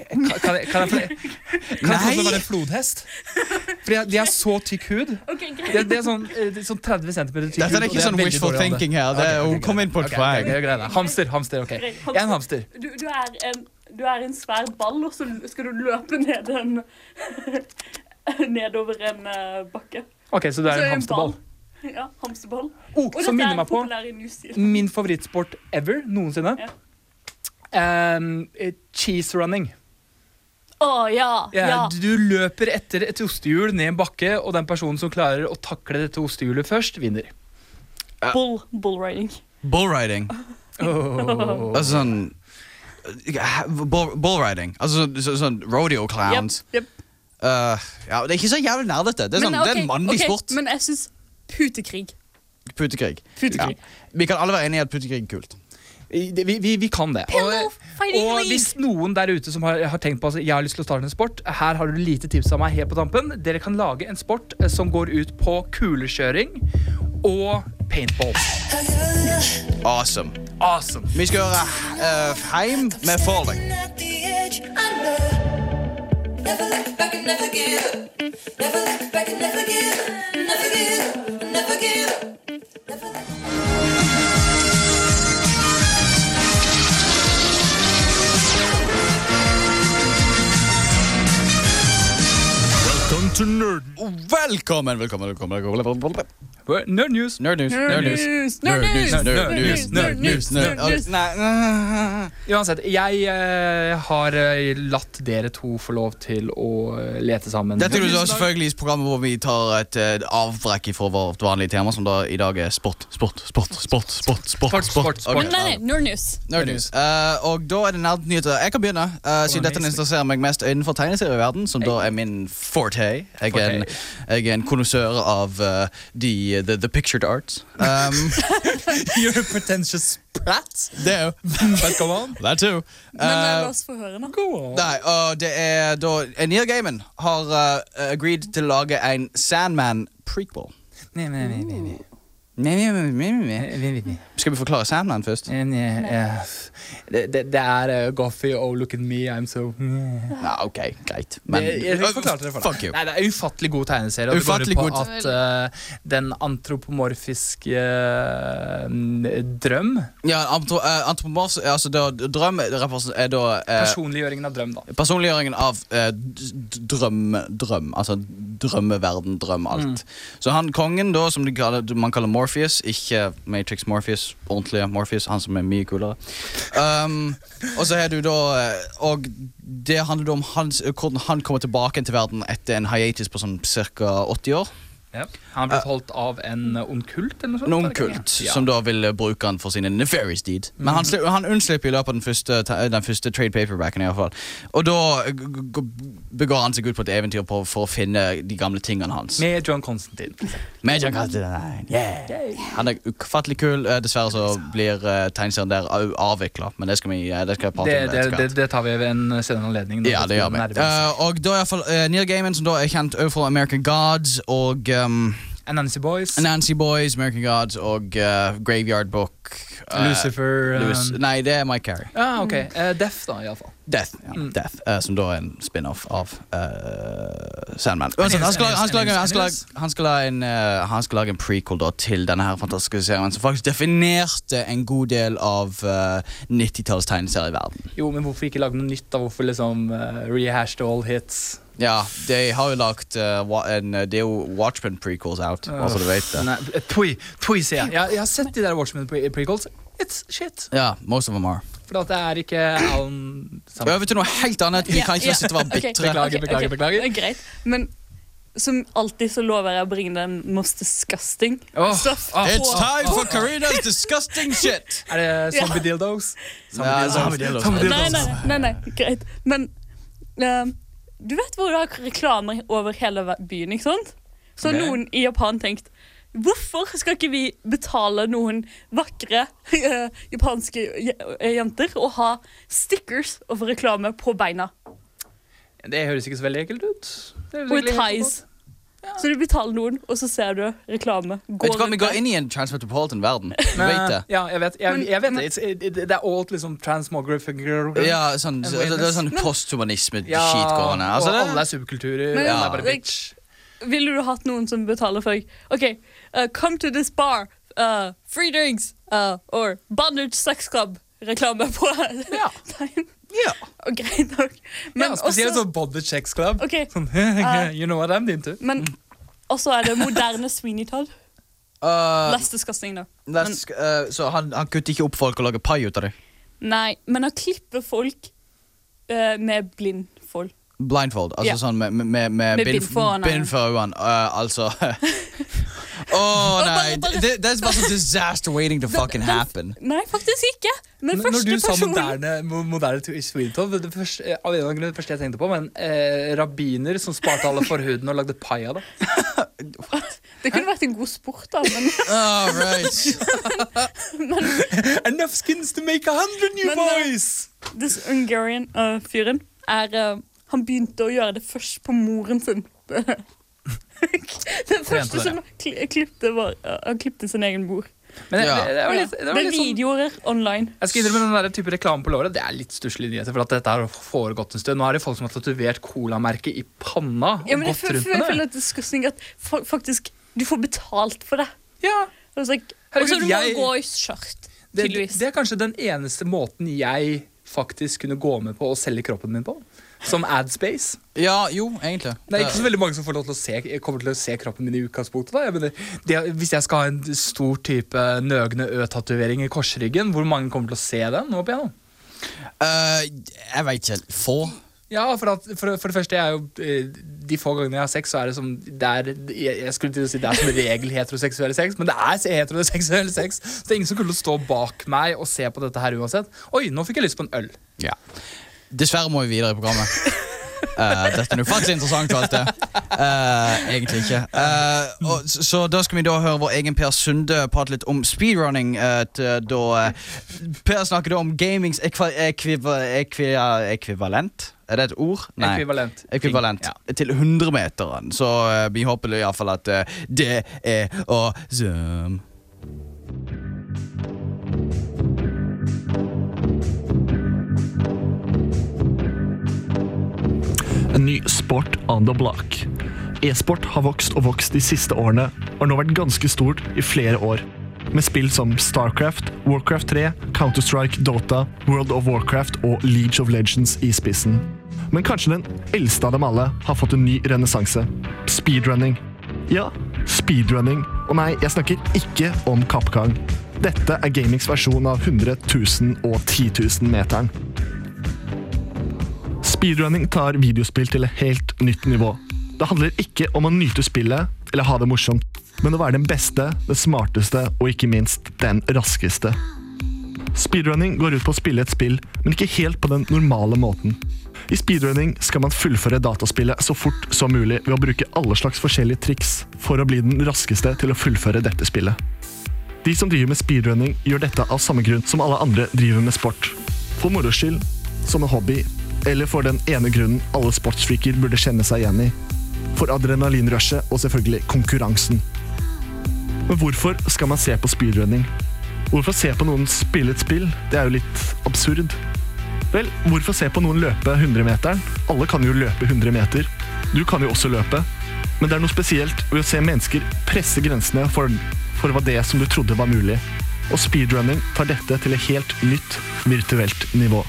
Speaker 5: Kan, kan jeg, kan jeg, kan jeg, kan jeg få lov til å være en flodhest? For de har- de har så tykk hud.
Speaker 6: Ok,
Speaker 5: Det,
Speaker 6: greit.
Speaker 5: det er sånn, eh, det er sånn 30 cm tykk
Speaker 4: Dette er
Speaker 5: hud, og
Speaker 4: ikke sånn
Speaker 5: veldig
Speaker 4: wishful
Speaker 5: dårlig av det.
Speaker 4: thinking her. Det er,
Speaker 5: Ok, ok,
Speaker 4: hun kom inn på
Speaker 5: ok,
Speaker 4: et
Speaker 5: ok,
Speaker 4: poeng.
Speaker 5: ok, greit da. Hamster, hamster. ok
Speaker 6: Greit,
Speaker 5: Jeg er en hamster.
Speaker 6: Du, du, er en, du er en svær ball, og så skal du løpe ned en (laughs) Nedover en eh, bakke.
Speaker 5: Ok, Så du
Speaker 6: Så
Speaker 5: er en hamsterball.
Speaker 6: ball. Ja, hamsterball.
Speaker 5: Oh,
Speaker 6: Og
Speaker 5: som
Speaker 6: dette
Speaker 5: minner
Speaker 6: er
Speaker 5: meg på
Speaker 6: populær i New Zealand.
Speaker 5: min favorittsport ever noensinne.
Speaker 6: Ja.
Speaker 5: Ehm, eh, cheese running.
Speaker 6: Å ja,
Speaker 5: Ja,
Speaker 6: ja.
Speaker 5: Du løper etter et ostehjul ned en bakke, og den personen som klarer å takle dette ostehjulet først, vinner.
Speaker 6: Bull, bull riding.
Speaker 4: Bullriding.
Speaker 5: Oh.
Speaker 4: Altså sånn eh, bull- Bullriding. Altså sånn, sånn- sånn rodeo clowns.
Speaker 6: Jep, jep.
Speaker 4: Uh, ja, det er ikke så jævlig nerdete. Det er, sånn, det er en
Speaker 6: ok,
Speaker 4: mannlig
Speaker 6: ok,
Speaker 4: sport.
Speaker 6: Men jeg syns putekrig.
Speaker 4: Putekrig.
Speaker 5: Putekrig.
Speaker 4: Vi kan alle være enige i at putekrig er kult.
Speaker 5: I- det- Vi, vi, vi kan det.
Speaker 6: Pillow fighting
Speaker 5: og
Speaker 6: league.
Speaker 5: hvis noen der ute som har, har tenkt på at jeg har lyst til å starte en sport, her har du lite tips av meg helt på tampen. Dere kan lage en sport eh, som går ut på kulekjøring og paintball.
Speaker 4: Awesome.
Speaker 5: Awesome.
Speaker 4: Vi skal høre eh, Heim med Falling.
Speaker 3: Welcome to Nerd.
Speaker 4: Oh, Velkommen, velkommen, velkommen. velkommen.
Speaker 5: Nerd news.
Speaker 4: Nerd news. Nerd news.
Speaker 6: Nerd news.
Speaker 4: Nerd news. Nerd news. Nerd news. Nei, nei.
Speaker 5: Uansett, jeg eh, har eh, latt dere to få lov til å eh, lete sammen.
Speaker 4: Dette er jo
Speaker 5: (laughs)
Speaker 4: da selvfølgelig programmet hvor vi tar et eh, avbrekk fra vårt vanlige tema, som da i dag er sport, sport, sport, sport, sport, sport,
Speaker 5: sport, sport.
Speaker 4: Ok,
Speaker 6: Men nei, nei, nerd news.
Speaker 4: Nerd news. Eh, og da er det nerdnyheter. Jeg kan begynne, eh, siden dette
Speaker 5: Amazing.
Speaker 4: interesserer meg mest innenfor tegneserieverden, som da er min forte. Jeg er en, jeg er en konnoissør av eh, de, the, the pictured arts. Um,
Speaker 5: You're a pretentious brat.
Speaker 4: (laughs) det er jo
Speaker 5: But go on.
Speaker 4: That too.
Speaker 6: Men nei,
Speaker 4: Eh,
Speaker 6: la oss få høre nå.
Speaker 5: Go on.
Speaker 4: Nei, og det er da Neil Gaiman har eh, agreed til å lage en Sandman prequel.
Speaker 5: Nei, nei, nei, nei, nei.
Speaker 4: Nei, nei, nei, nei, nei.
Speaker 5: Nei, nei, nei.
Speaker 4: Skal vi forklare Sandman først?
Speaker 5: Nei, nei, eh, Det, det, det er eh, Goffy og Look at me, I'm so Nei,
Speaker 4: Ja, ok, greit.
Speaker 5: Jeg- jeg forklarte det for deg.
Speaker 4: Fuck you.
Speaker 5: Nei, det er en ufattelig god tegneserie. Og det går
Speaker 4: Ufattelig
Speaker 5: ut på
Speaker 4: god
Speaker 5: at eh, den antropomorfiske eh, drøm
Speaker 4: Ja, antro, eh, antropomorf, altså da, drøm represen- er da eh,
Speaker 5: Personliggjøringen av drøm, da.
Speaker 4: Personliggjøringen av eh, d- d- drøm, drøm, altså drømmeverden, drøm, alt. Så han kongen, da, som de kaller, man kaller Morpheus, ikke Matrix Morpheus, ordentlige Morpheus, han som er mye kulere. Um, og så er du da eh, Og det handler da om hans, hvordan han kommer tilbake til verden etter en hiatus på sånn ca. 80 år.
Speaker 5: Han ble holdt av en eh, onkult eller noe sånt?
Speaker 4: Noen
Speaker 5: var det ikke?
Speaker 4: kult
Speaker 5: Ja. Mm.
Speaker 4: som da ville bruke han for sine nefarious deed. Men han, slipp, han unnslipp i løpet av den første, ta- den første trade paperbacken. I hvert fall. Og da eh, g- g- begår han seg ut på et eventyr på, for å finne de gamle tingene hans.
Speaker 5: Med John Constantine.
Speaker 4: Med John Constantine, yeah. Han er ufattelig kul. Eh, Dessverre så blir uh, tegneserien der avvikla, men det skal, vi, eh, det skal jeg prate
Speaker 5: Det,
Speaker 4: om.
Speaker 5: det,
Speaker 4: etter hvert.
Speaker 5: det, det tar vi ved en senere anledning. når
Speaker 4: Ja, det gjør vi.
Speaker 5: nærmer seg.
Speaker 4: Eh, og da er i hvert fall eh, Neil Gaiman, som da er kjent overfor American Gods og ehm,
Speaker 5: Anansi Boys,
Speaker 4: Nancy Boys, American Gods og eh, Graveyard Book. eh, Mm.
Speaker 5: Lucifer eh,
Speaker 4: Louis, nei, det er Mike Carey.
Speaker 5: Ja, ok. Eh, Death, da, iallfall.
Speaker 4: Death, ja.
Speaker 5: Mm.
Speaker 4: Death eh, som da er en spin-off av eh, Sandman. Uansett, han skal lage- han skal lage- han skal lage- han skal lage en, eh, han skal lage en prequel da, til denne her fantastiske serien som faktisk definerte en god del av eh, 90-tallets tegneserier i verden.
Speaker 5: Jo, men hvorfor ikke lage noe nytt, da? Hvorfor liksom eh, rehash all hits?
Speaker 4: Ja, de har jo lagt eh, wa- en, eh, Det er jo Watchman-prequels out, bare så du vet det.
Speaker 5: Nei, eh, Pui, pui, sier jeg. jeg. Jeg har sett de der Watchmen pre prequels. It's shit.
Speaker 4: Ja, most of them are.
Speaker 5: For at det er ikke Alan
Speaker 4: Over til noe helt annet. Vi kan ikke
Speaker 6: Ja,
Speaker 4: sitte og være
Speaker 6: ok.
Speaker 4: bitre.
Speaker 5: Beklager,
Speaker 6: Ok,
Speaker 5: beklager,
Speaker 6: ok.
Speaker 5: beklager.
Speaker 6: Det er greit. Men Som alltid så lover jeg å bringe den most disgusting
Speaker 5: Åh,
Speaker 6: stuff.
Speaker 5: åh,
Speaker 4: It's
Speaker 5: åh,
Speaker 4: time
Speaker 5: åh.
Speaker 4: for Karina's disgusting shit!
Speaker 5: Er det zombie dildos?
Speaker 4: Nei,
Speaker 5: Zombie dildos. Zombie dildos.
Speaker 6: Nei, nei, nei, nei, nei, greit. Men eh, du vet hvor du har reklamer over hele ver- byen, ikke sant? Så
Speaker 5: Ok.
Speaker 6: noen i Japan tenkt Hvorfor skal ikke vi betale noen vakre eh, japanske je- eh, jenter og ha stickers og reklame på beina?
Speaker 5: Det høres ikke så veldig ekkelt ut. Det høres
Speaker 6: Og
Speaker 5: egentlig helt
Speaker 6: ties. Så du betaler noen, og så ser du reklame.
Speaker 4: Vet du hva, Vi
Speaker 6: rundt
Speaker 4: går
Speaker 6: der.
Speaker 4: inn i en transmetropolitan-verden. Du
Speaker 5: Men,
Speaker 4: vet det.
Speaker 5: Eh, Ja, jeg vet, jeg,
Speaker 6: Men-
Speaker 5: jeg vet
Speaker 6: men-
Speaker 5: det. It's, it, it, det er alt liksom transmographical
Speaker 4: Ja, sånn,
Speaker 5: And
Speaker 4: så, det er sånn
Speaker 5: wellness.
Speaker 4: posthumanisme-skit
Speaker 5: Ja,
Speaker 4: gående. Altså,
Speaker 5: og alle
Speaker 4: det,
Speaker 5: er subkulturer.
Speaker 6: Men-
Speaker 5: alle er bare
Speaker 6: Ja.
Speaker 5: bitch.
Speaker 6: Ville du hatt noen som betaler for OK, uh, come to this bar, uh, free drinks, uh, or bondage sex club. Reklame på (laughs)
Speaker 5: Ja.
Speaker 6: tegn.
Speaker 5: Ja.
Speaker 6: Og greit nok. Men
Speaker 5: ja, spesielt
Speaker 6: også,
Speaker 5: sånn Body Checks Club.
Speaker 6: Ok.
Speaker 5: (laughs) Sånn,
Speaker 6: Ah.
Speaker 5: you know what I'm into.
Speaker 6: men også er det moderne Sweeney Todd.
Speaker 4: Uh,
Speaker 6: Less disgusting, da.
Speaker 4: let's- uh, så han, han kutter ikke opp folk og lager pai ut av det?
Speaker 6: Nei, men å klippe folk eh, med blindfold.
Speaker 4: Blindfold, altså
Speaker 6: Ja.
Speaker 4: sånn med, med, med, med bind
Speaker 6: bind foran øynene.
Speaker 4: bind for øynene. Uh, (laughs) altså Å nei!
Speaker 6: bare- bare-
Speaker 4: Det- That's just a disaster waiting to (laughs) fucking
Speaker 6: den-
Speaker 4: happen.
Speaker 6: Nei, faktisk ikke! Men
Speaker 5: N- Når
Speaker 6: første
Speaker 5: du sa
Speaker 6: person
Speaker 5: moderne, mo- moderne to- Swedentov, det første, eh, av en eller annen grunn, det første jeg tenkte på, men eh, rabbiner som sparte alle forhuden og lagde pai av det.
Speaker 6: Det kunne vært en god sport, da, men,
Speaker 4: All right.
Speaker 6: men
Speaker 5: Enough skins to make a hundred new
Speaker 6: Men, eh,
Speaker 5: boys!
Speaker 6: This Hungarian-fyren er eh, Han begynte å gjøre det først på moren sin. (laughs) Den første
Speaker 5: det.
Speaker 6: som kli klippte, var eh, Han klippte sin egen mor.
Speaker 5: Men det,
Speaker 4: Ja.
Speaker 5: det, det var litt,
Speaker 6: det
Speaker 5: det var
Speaker 6: er
Speaker 5: litt sånn
Speaker 6: videoer online.
Speaker 5: Jeg skal innrømme den der type reklame på låret. Det er litt stusslige nyheter. For at dette har foregått en stund Nå er det folk som har tatovert colamerket i panna. Og
Speaker 6: Ja, men jeg
Speaker 5: gått
Speaker 6: føler,
Speaker 5: rundt
Speaker 6: jeg
Speaker 5: med
Speaker 6: føler
Speaker 5: det.
Speaker 6: at det skal synge at fa- faktisk du får betalt for det.
Speaker 5: Ja,
Speaker 6: Og så like,
Speaker 5: Herregud,
Speaker 6: og så du må
Speaker 5: jeg-
Speaker 6: gå i skjørt,
Speaker 5: det,
Speaker 6: tydeligvis.
Speaker 5: det er kanskje den eneste måten jeg faktisk kunne gå med på å selge kroppen min på. Som adspace.
Speaker 4: Ja, jo, egentlig.
Speaker 5: Det er ikke så veldig mange som får lov til å se, kommer til å se kroppen min i utgangspunktet. Da. Jeg mener, det, hvis jeg skal ha en stor type nøgne Ø-tatovering i korsryggen, hvor mange kommer til å se den? Opp igjennom?
Speaker 4: Uh, jeg veit ikke. Få?
Speaker 5: Ja, for, at, for, for det første, jeg er jo eh, De få gangene jeg har sex, så er det som det er, jeg, jeg skulle til å si det er som regel heteroseksuell sex, men det er se- heteroseksuell sex. Så det er ingen som kunne stå bak meg og se på dette her uansett. Oi, nå fikk jeg lyst på en øl.
Speaker 4: Ja. Dessverre må vi videre i programmet. Eh, dette er jo faktisk interessant og alt det. Eh, egentlig ikke. Eh, og, så, så da skal vi da høre vår egen Per Sunde prate litt om speedrunning. eh, til da eh, Per snakker da om gamings ekva, ekviva, ekvi, ekvivalent. Er det et ord?
Speaker 5: Ekvivalent.
Speaker 4: Ekvivalent
Speaker 5: Ting,
Speaker 4: til 100-meteren. Så eh, vi håper iallfall at eh, det er awesome.
Speaker 2: En ny sport on the block. E-sport har vokst og vokst de siste årene, og har nå vært ganske stort i flere år. Med spill som Starcraft, Warcraft 3, Counter-Strike, Dota, World of Warcraft og League of Legends i spissen. Men kanskje den eldste av dem alle har fått en ny renessanse. Speedrunning. Ja, speedrunning. Og nei, jeg snakker ikke om kappgang. Dette er gamings versjon av 100 000 og 10 000-meteren. Speedrunning tar videospill til et helt nytt nivå. Det handler ikke om å nyte spillet eller ha det morsomt, men å være den beste, den smarteste og ikke minst den raskeste. Speedrunning går ut på å spille et spill, men ikke helt på den normale måten. I speedrunning skal man fullføre dataspillet så fort som mulig ved å bruke alle slags forskjellige triks for å bli den raskeste til å fullføre dette spillet. De som driver med speedrunning, gjør dette av samme grunn som alle andre driver med sport. For moro skyld, som en hobby, eller for den ene grunnen alle sportsfreaker burde kjenne seg igjen i. For adrenalinrushet og selvfølgelig konkurransen. Men hvorfor skal man se på speedrunning? Hvorfor se på noen spille et spill? Det er jo litt absurd. Vel, hvorfor se på noen løpe 100-meteren? Alle kan jo løpe 100 meter. Du kan jo også løpe. Men det er noe spesielt ved å se mennesker presse grensene for, for hva det som du trodde var mulig. Og speedrunning tar dette til et helt nytt virtuelt nivå.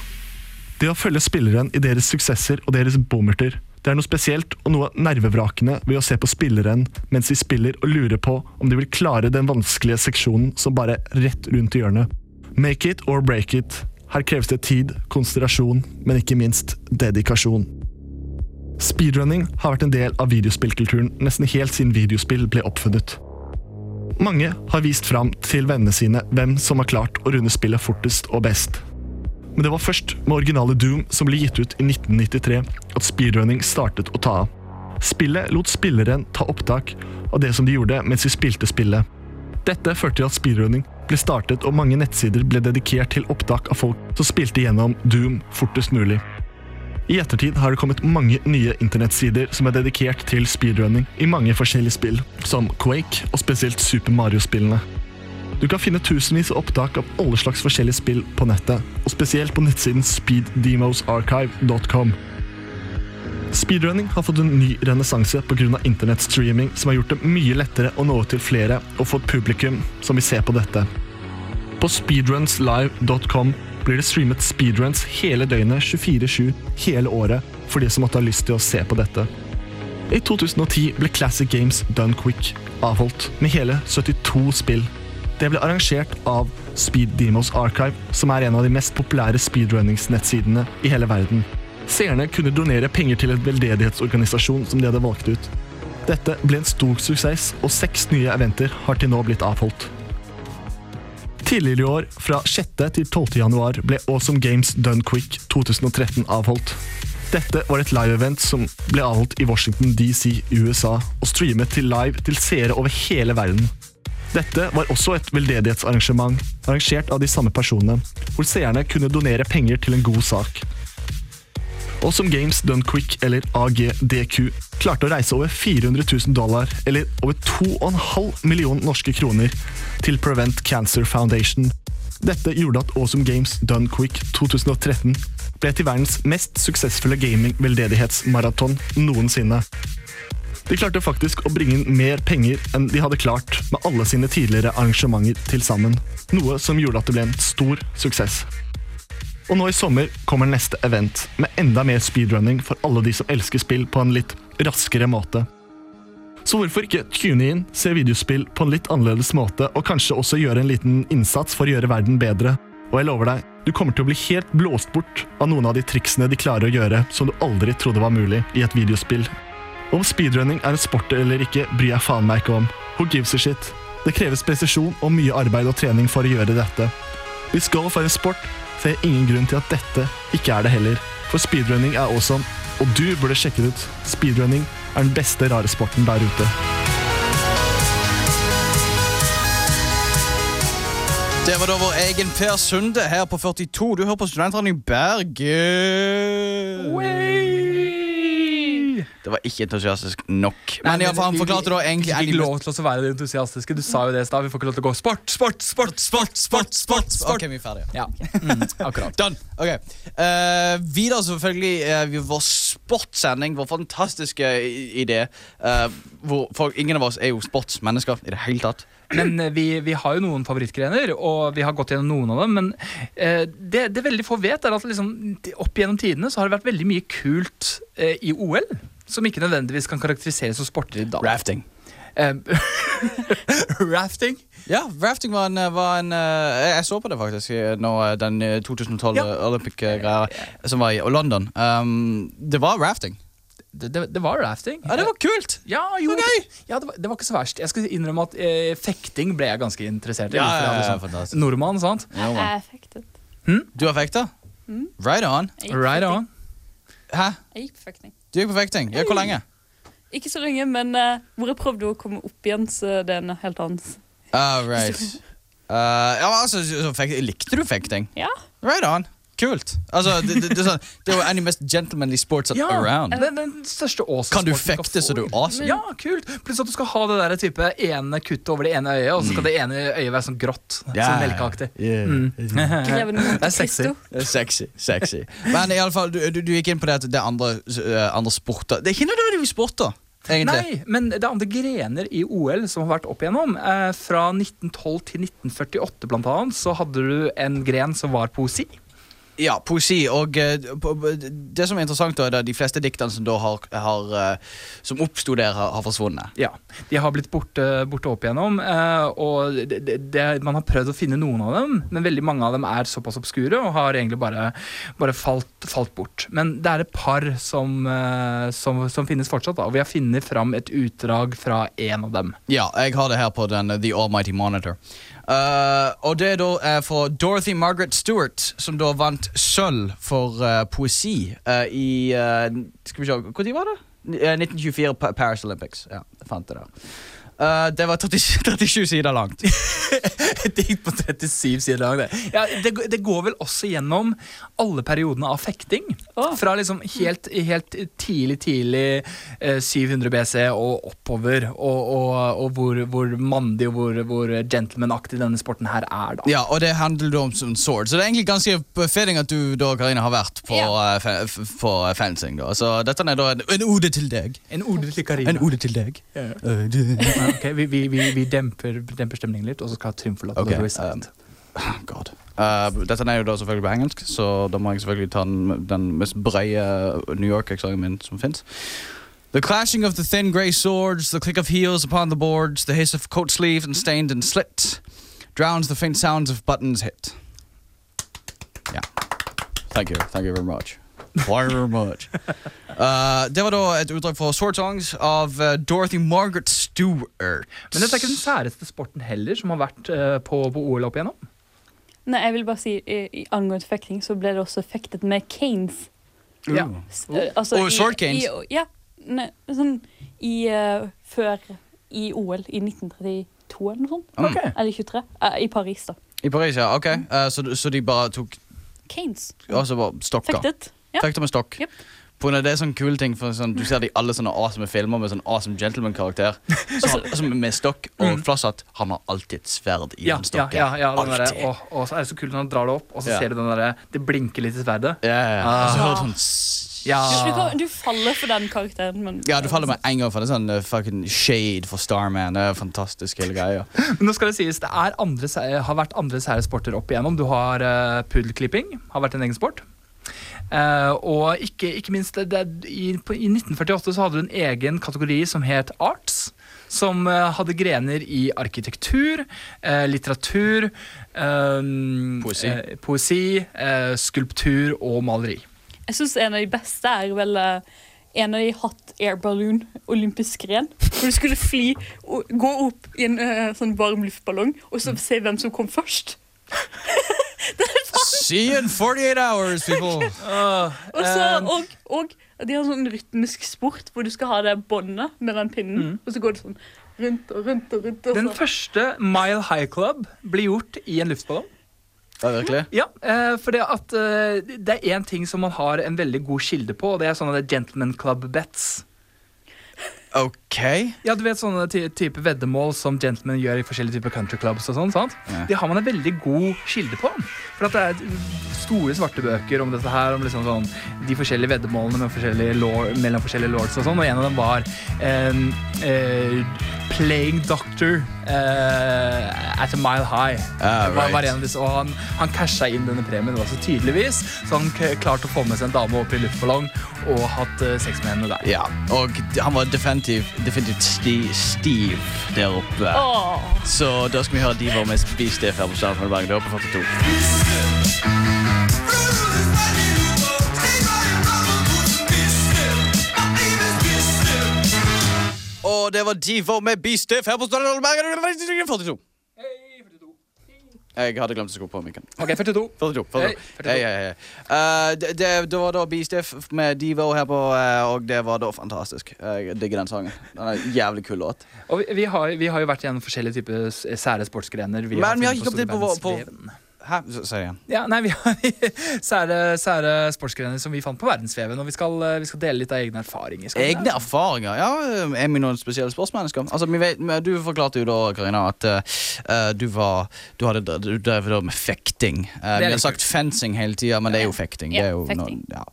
Speaker 2: Det å følge spilleren i deres suksesser og deres bommerter, det er noe spesielt og noe nervevrakende ved å se på spilleren mens de spiller og lurer på om de vil klare den vanskelige seksjonen som bare er rett rundt i hjørnet. Make it or break it. Her kreves det tid, konsentrasjon, men ikke minst dedikasjon. Speedrunning har vært en del av videospillkulturen nesten helt siden videospill ble oppfunnet. Mange har vist fram til vennene sine hvem som har klart å runde spillet fortest og best. Men det var først med originale Doom, som ble gitt ut i 1993, at speedrunning startet å ta av. Spillet lot spilleren ta opptak av det som de gjorde mens de spilte spillet. Dette førte til at speedrunning ble startet, og mange nettsider ble dedikert til opptak av folk som spilte gjennom Doom fortest mulig. I ettertid har det kommet mange nye internettsider som er dedikert til speedrunning i mange forskjellige spill, som Quake og spesielt Super Mario-spillene. Du kan finne tusenvis av opptak av alle slags forskjellige spill på nettet, og spesielt på nettsiden speeddemosarchive.com. Speedrunning har fått en ny renessanse pga. internettstreaming, som har gjort det mye lettere å nå ut til flere og få et publikum som vil se på dette. På speedrunslive.com blir det streamet speedruns hele døgnet 24-7 hele året for de som måtte ha lyst til å se på dette. I 2010 ble Classic Games Done Quick avholdt med hele 72 spill. Det ble arrangert av Speed Demos Archive, som er en av de mest populære speedrunningsnettsidene i hele verden. Seerne kunne donere penger til en veldedighetsorganisasjon som de hadde valgt ut. Dette ble en stor suksess, og seks nye eventer har til nå blitt avholdt. Tidligere i år, fra 6. til 12. januar, ble Awesome Games Done Quick 2013 avholdt. Dette var et live-event som ble avholdt i Washington DC, USA, og streamet til live til seere over hele verden. Dette var også et veldedighetsarrangement, arrangert av de samme personene, hvor seerne kunne donere penger til en god sak. Awesome Games Done Quick, eller AGDQ, klarte å reise over 400 000 dollar, eller over 2,5 million norske kroner, til Prevent Cancer Foundation. Dette gjorde at Awesome Games Done Quick 2013 ble til verdens mest suksessfulle gaming-veldedighetsmaraton noensinne. De klarte faktisk å bringe inn mer penger enn de hadde klart med alle sine tidligere arrangementer til sammen, noe som gjorde at det ble en stor suksess. Og nå i sommer kommer neste event, med enda mer speedrunning for alle de som elsker spill på en litt raskere måte. Så hvorfor ikke tune inn, se videospill på en litt annerledes måte, og kanskje også gjøre en liten innsats for å gjøre verden bedre? Og jeg lover deg, du kommer til å bli helt blåst bort av noen av de triksene de klarer å gjøre som du aldri trodde var mulig i et videospill. Om speedrunning er en sport eller ikke, bryr jeg faen meg ikke om. Who gives a shit? Det kreves presisjon og mye arbeid og trening for å gjøre dette. Hvis golf er en sport, ser jeg ingen grunn til at dette ikke er det heller. For speedrunning er awesome, og du burde sjekke det ut. Speedrunning er den beste rare sporten der ute.
Speaker 4: Det var da vår egen Per Sunde her på 42. Du hører på Studentradioen i Bergen. Det var ikke entusiastisk nok. Men iallfall, han forklarte da egentlig
Speaker 5: Vi fikk lov til oss å være de entusiastiske. Du sa jo det i stad. Vi får ikke lov til å gå sport, sport, sport, sport, sport, sport, sport.
Speaker 4: Ok, vi er ferdige.
Speaker 5: Ja, mm, akkurat.
Speaker 4: Done. Ok. Eh, videre selvfølgelig uh, vår sportssending, vår fantastiske i- idé. eh, hvor folk, ingen av oss er jo sportsmennesker i det hele tatt.
Speaker 5: Men eh, vi, vi har jo noen favorittgrener, og vi har gått gjennom noen av dem. Men eh, det, det veldig få vet, er at liksom, de- opp gjennom tidene så har det vært veldig mye kult eh, i OL. Som ikke nødvendigvis kan karakteriseres som sporter i dag.
Speaker 4: Rafting.
Speaker 5: Eh, (laughs) rafting?
Speaker 4: Ja, rafting var en, eh, var en eh, Jeg jeg så på det faktisk eh, nå, eh, den eh, 2012
Speaker 5: Ja.
Speaker 4: Olympic-greia som var i London. Um, det var rafting.
Speaker 5: Det, det, det var rafting.
Speaker 4: Ja, det var kult!
Speaker 5: Ja, jo,
Speaker 4: Så gøy!
Speaker 5: ja det, var, det var ikke så verst. Jeg skal innrømme at eh, fekting ble jeg ganske interessert i.
Speaker 4: Ja,
Speaker 5: hvorfor jeg
Speaker 4: ja,
Speaker 5: hadde
Speaker 4: ja,
Speaker 5: sånn
Speaker 4: fantastisk.
Speaker 5: Nordmann, sant?
Speaker 4: Ja, man.
Speaker 6: Jeg er fektet.
Speaker 4: Du har fekta? Right on.
Speaker 6: Jeg gikk
Speaker 5: Right on.
Speaker 6: fekting.
Speaker 4: Hæ?
Speaker 6: Jeg gikk på fekting.
Speaker 4: Du gikk på fekting? Ja, hvor lenge?
Speaker 6: Ikke så lenge, men eh, hvor jeg prøvde å komme opp igjen, så det er en helt annen s-
Speaker 4: Ah, right. Eh, ja, men altså, så fek- likte du fekting?
Speaker 6: Ja.
Speaker 4: Right on. Kult. Altså, det, det, det, er sånn, det er jo en av de mest gentlemanly sports
Speaker 5: Ja,
Speaker 4: around.
Speaker 5: Den, den største
Speaker 4: Kan du
Speaker 5: åsesporten
Speaker 4: fekte så du er
Speaker 5: får.
Speaker 4: awesome?
Speaker 5: Ja, kult! Plutselig at du skal ha det der type ene kuttet over det ene øyet, og så skal det ene øyet være sånn grått. Sånn
Speaker 4: (laughs)
Speaker 5: melkeaktig.
Speaker 4: Mm.
Speaker 6: Greven av
Speaker 5: Det
Speaker 6: Monte
Speaker 5: er sexy.
Speaker 6: Cristo.
Speaker 4: Det er Eh, Sexy. sexy (laughs) Men i alle fall, du, du, du gikk inn på det at det er andre, eh, andre sporter. Det er ikke nødvendigvis sporter, egentlig.
Speaker 5: Nei, men det er andre grener i OL som har vært opp igjennom. Eh, fra 1912 til 1948 blant annet, så hadde du en gren som var poesi.
Speaker 4: Ja, poesi. Og eh, på- på- det som er interessant, da, er at de fleste diktene som da har, har eh, Som oppsto der, har, har forsvunnet.
Speaker 5: Ja, De har blitt borte, borte opp igjennom. eh, og det, det, det, man har prøvd å finne noen av dem, men veldig mange av dem er såpass obskure og har egentlig bare, bare falt, falt bort. Men det er et par som, eh, som, som finnes fortsatt, da, og vi har funnet fram et utdrag fra en av dem.
Speaker 4: Ja, jeg har det her på den eh, The Almighty Monitor. Eh, og det er da eh, fra Dorothy Margaret Stewart, som da vant sølv for eh, poesi eh, i eh, Skal vi se, når var det? Eh, 1924 Pa- Paris Olympics. Ja, jeg fant det der. Eh, det var (laughs) 37, 37 sider langt.
Speaker 5: (laughs) Et dikt på 37 sider lang, det. Ja, det. g- Det går vel også gjennom alle periodene av fekting.
Speaker 6: Å.
Speaker 5: Fra liksom helt, helt tidlig, tidlig eh, 700 BC og oppover. Og, og, og hvor, hvor mandig og hvor, hvor gentlemanaktig denne sporten her er, da.
Speaker 4: Ja, og det handler da om som sword. Så det er egentlig ganske fitting at du da, Karina, har vært på, eh,
Speaker 6: Ja.
Speaker 4: fe- f- på eh, fencing. da. Så dette er da en, en ode til deg.
Speaker 5: En ode til Karina.
Speaker 4: En ode til deg.
Speaker 5: Ja.
Speaker 4: Eh, du-
Speaker 5: Ja, ok, vi, vi, vi, vi demper, demper stemningen litt, og så skal Trym forlate
Speaker 4: Ok, um,
Speaker 5: Norway Sound.
Speaker 4: God. Eh, dette er jo da selvfølgelig på engelsk, så da må jeg selvfølgelig ta den, den mest brede New York-eksamen min som fins. The clashing of the thin grey swords, the click of heels upon the boards, the hiss of coat sleeves and stained and slit, drowns the faint sounds of buttons hit. Ja. Thank you. Thank you very much. Very
Speaker 5: (laughs)
Speaker 4: much. Eh, det var da et utdrag fra Sword Songs av eh, Dorothy Margaret Stewart.
Speaker 5: Men dette er ikke den særeste sporten heller som har vært eh, på, på OL opp igjennom.
Speaker 6: Nei, jeg vil bare si i, i angående fekting, så ble det også fektet med canes.
Speaker 5: Ja.
Speaker 6: S- eh, altså
Speaker 4: Og
Speaker 6: i-
Speaker 4: short canes.
Speaker 6: i- Ja. Nei, sånn i eh, Før i OL i 1932 eller noe sånt.
Speaker 4: Mm.
Speaker 5: Ok.
Speaker 6: Eller 23. eh, I Paris, da.
Speaker 4: I Paris, ja. Ok. Eh, så, du- så de bare tok
Speaker 6: Canes.
Speaker 4: Altså bare stokker.
Speaker 6: Fektet. Ja.
Speaker 4: Fekter med stokk.
Speaker 6: Jep.
Speaker 4: På grunn av det er sånn kule ting for sånn, Du ser det i alle sånne awesome filmer med sånn awesome
Speaker 5: (laughs)
Speaker 4: gentleman-karakter. Så han- Som med stokk og flasshatt. Han har alltid et sverd i
Speaker 5: Mm. Ja,
Speaker 4: den
Speaker 5: ja,
Speaker 4: stokken.
Speaker 5: ja, ja den derre,
Speaker 4: alltid.
Speaker 5: og, og så er det så kult når han drar det opp, og så
Speaker 4: Ja.
Speaker 5: ser du den derre Det blinker litt i sverdet.
Speaker 4: Ja, ja, ja. Og så
Speaker 5: Ah.
Speaker 4: hører du sånn s-
Speaker 5: Ja.
Speaker 6: Du, du, kan- du faller for den karakteren, men
Speaker 4: ja, du faller med en gang for det. er Sånn eh, fucking shade for Starman. Det er fantastisk hele
Speaker 5: (laughs)
Speaker 4: greia.
Speaker 5: Men nå skal det sies, det er andre, sæ- har vært andre sære sporter opp igjennom. Du har uh, puddelklipping, har vært en egen sport. Eh, og ikke, ikke minst det, det, i, på, I 1948 så hadde du en egen kategori som het arts. Som eh, hadde grener i arkitektur, eh, litteratur eh,
Speaker 4: Poesi.
Speaker 5: eh, poesi eh, skulptur og maleri.
Speaker 6: jeg syns en av de beste er vel eh, en av de hot air balloon, olympisk gren. Hvor du skulle fly og gå opp i en eh, sånn varm luftballong og
Speaker 4: Mm.
Speaker 6: så se hvem som kom først.
Speaker 4: See you in 48 hours,
Speaker 5: (laughs)
Speaker 4: people!
Speaker 6: Og, så,
Speaker 4: Ehm.
Speaker 6: og, og de har sånn rytmisk sport hvor du skal ha det båndet med den pinnen.
Speaker 4: Mm.
Speaker 6: Og så går det sånn rundt og rundt og rundt. Og
Speaker 5: Den
Speaker 6: så.
Speaker 5: første Mile High Club ble gjort i en luftballong.
Speaker 4: Ja, virkelig?
Speaker 5: Ja, eh, for det, at, eh, det er én ting som man har en veldig god kilde på, og det er sånne gentleman club bets.
Speaker 4: OK.
Speaker 5: Ja, du vet sånne ty type veddemål som gentlemen gjør i forskjellige typer countryclubs og sånn, sant?
Speaker 4: Ja.
Speaker 5: Det har man en veldig god kilde på. For at det er store svarte bøker om dette her, om liksom sånn de forskjellige veddemålene med forskjellige lord, mellom forskjellige lords og sånn, og en av dem var eh, eh, Playing Doctor eh, at a mile high.
Speaker 4: Ah,
Speaker 5: Det var- var
Speaker 4: right.
Speaker 5: en av disse, og han, han casha inn denne premien også, tydeligvis, så han k- klarte å få med seg en dame opp i luftballong og hatt eh, sex med henne der.
Speaker 4: Ja. Og han var definitivt, definitivt sti, stiv der oppe.
Speaker 6: Åh.
Speaker 4: Så da skal vi høre de var mest spist det før på Staden Bergen. Du er på 42. Og det var Divo med Beastef her på Staden Bergen. 42. Jeg hadde glemt å skru på mikken.
Speaker 5: Ok, 42.
Speaker 4: 42. 42.
Speaker 5: Hei, 42.
Speaker 4: Hei, hei, hei. Eh, det, det, det var da Beastef med Divo her på, eh, og det var da fantastisk. Jeg digger den sangen. Den er en jævlig kul låt.
Speaker 5: Og vi, vi, har, vi har jo vært gjennom forskjellige typer s- sære sportsgrener.
Speaker 4: Men vi har
Speaker 5: funnet
Speaker 4: ikke kommet inn på
Speaker 5: store
Speaker 4: hva- på-
Speaker 5: verdensveven.
Speaker 4: Hæ? S- Si det igjen.
Speaker 5: ja, Nei, vi har (laughs) sære, sære sportsgrener som vi fant på verdensveven, og vi skal, eh, vi skal dele litt av egne erfaringer. skal vi
Speaker 4: Egne
Speaker 5: det?
Speaker 4: erfaringer? Ja, Er vi noen spesielle sportsmennesker? Altså, vi vet, men du forklarte jo da, Karina, at eh, du var Du hadde du drev da med fekting. Eh,
Speaker 5: er
Speaker 4: vi
Speaker 5: litt
Speaker 4: har sagt fencing hele tida, men det er jo fekting. det
Speaker 6: Ja,
Speaker 4: er jo
Speaker 6: fekting.
Speaker 4: noe- ja.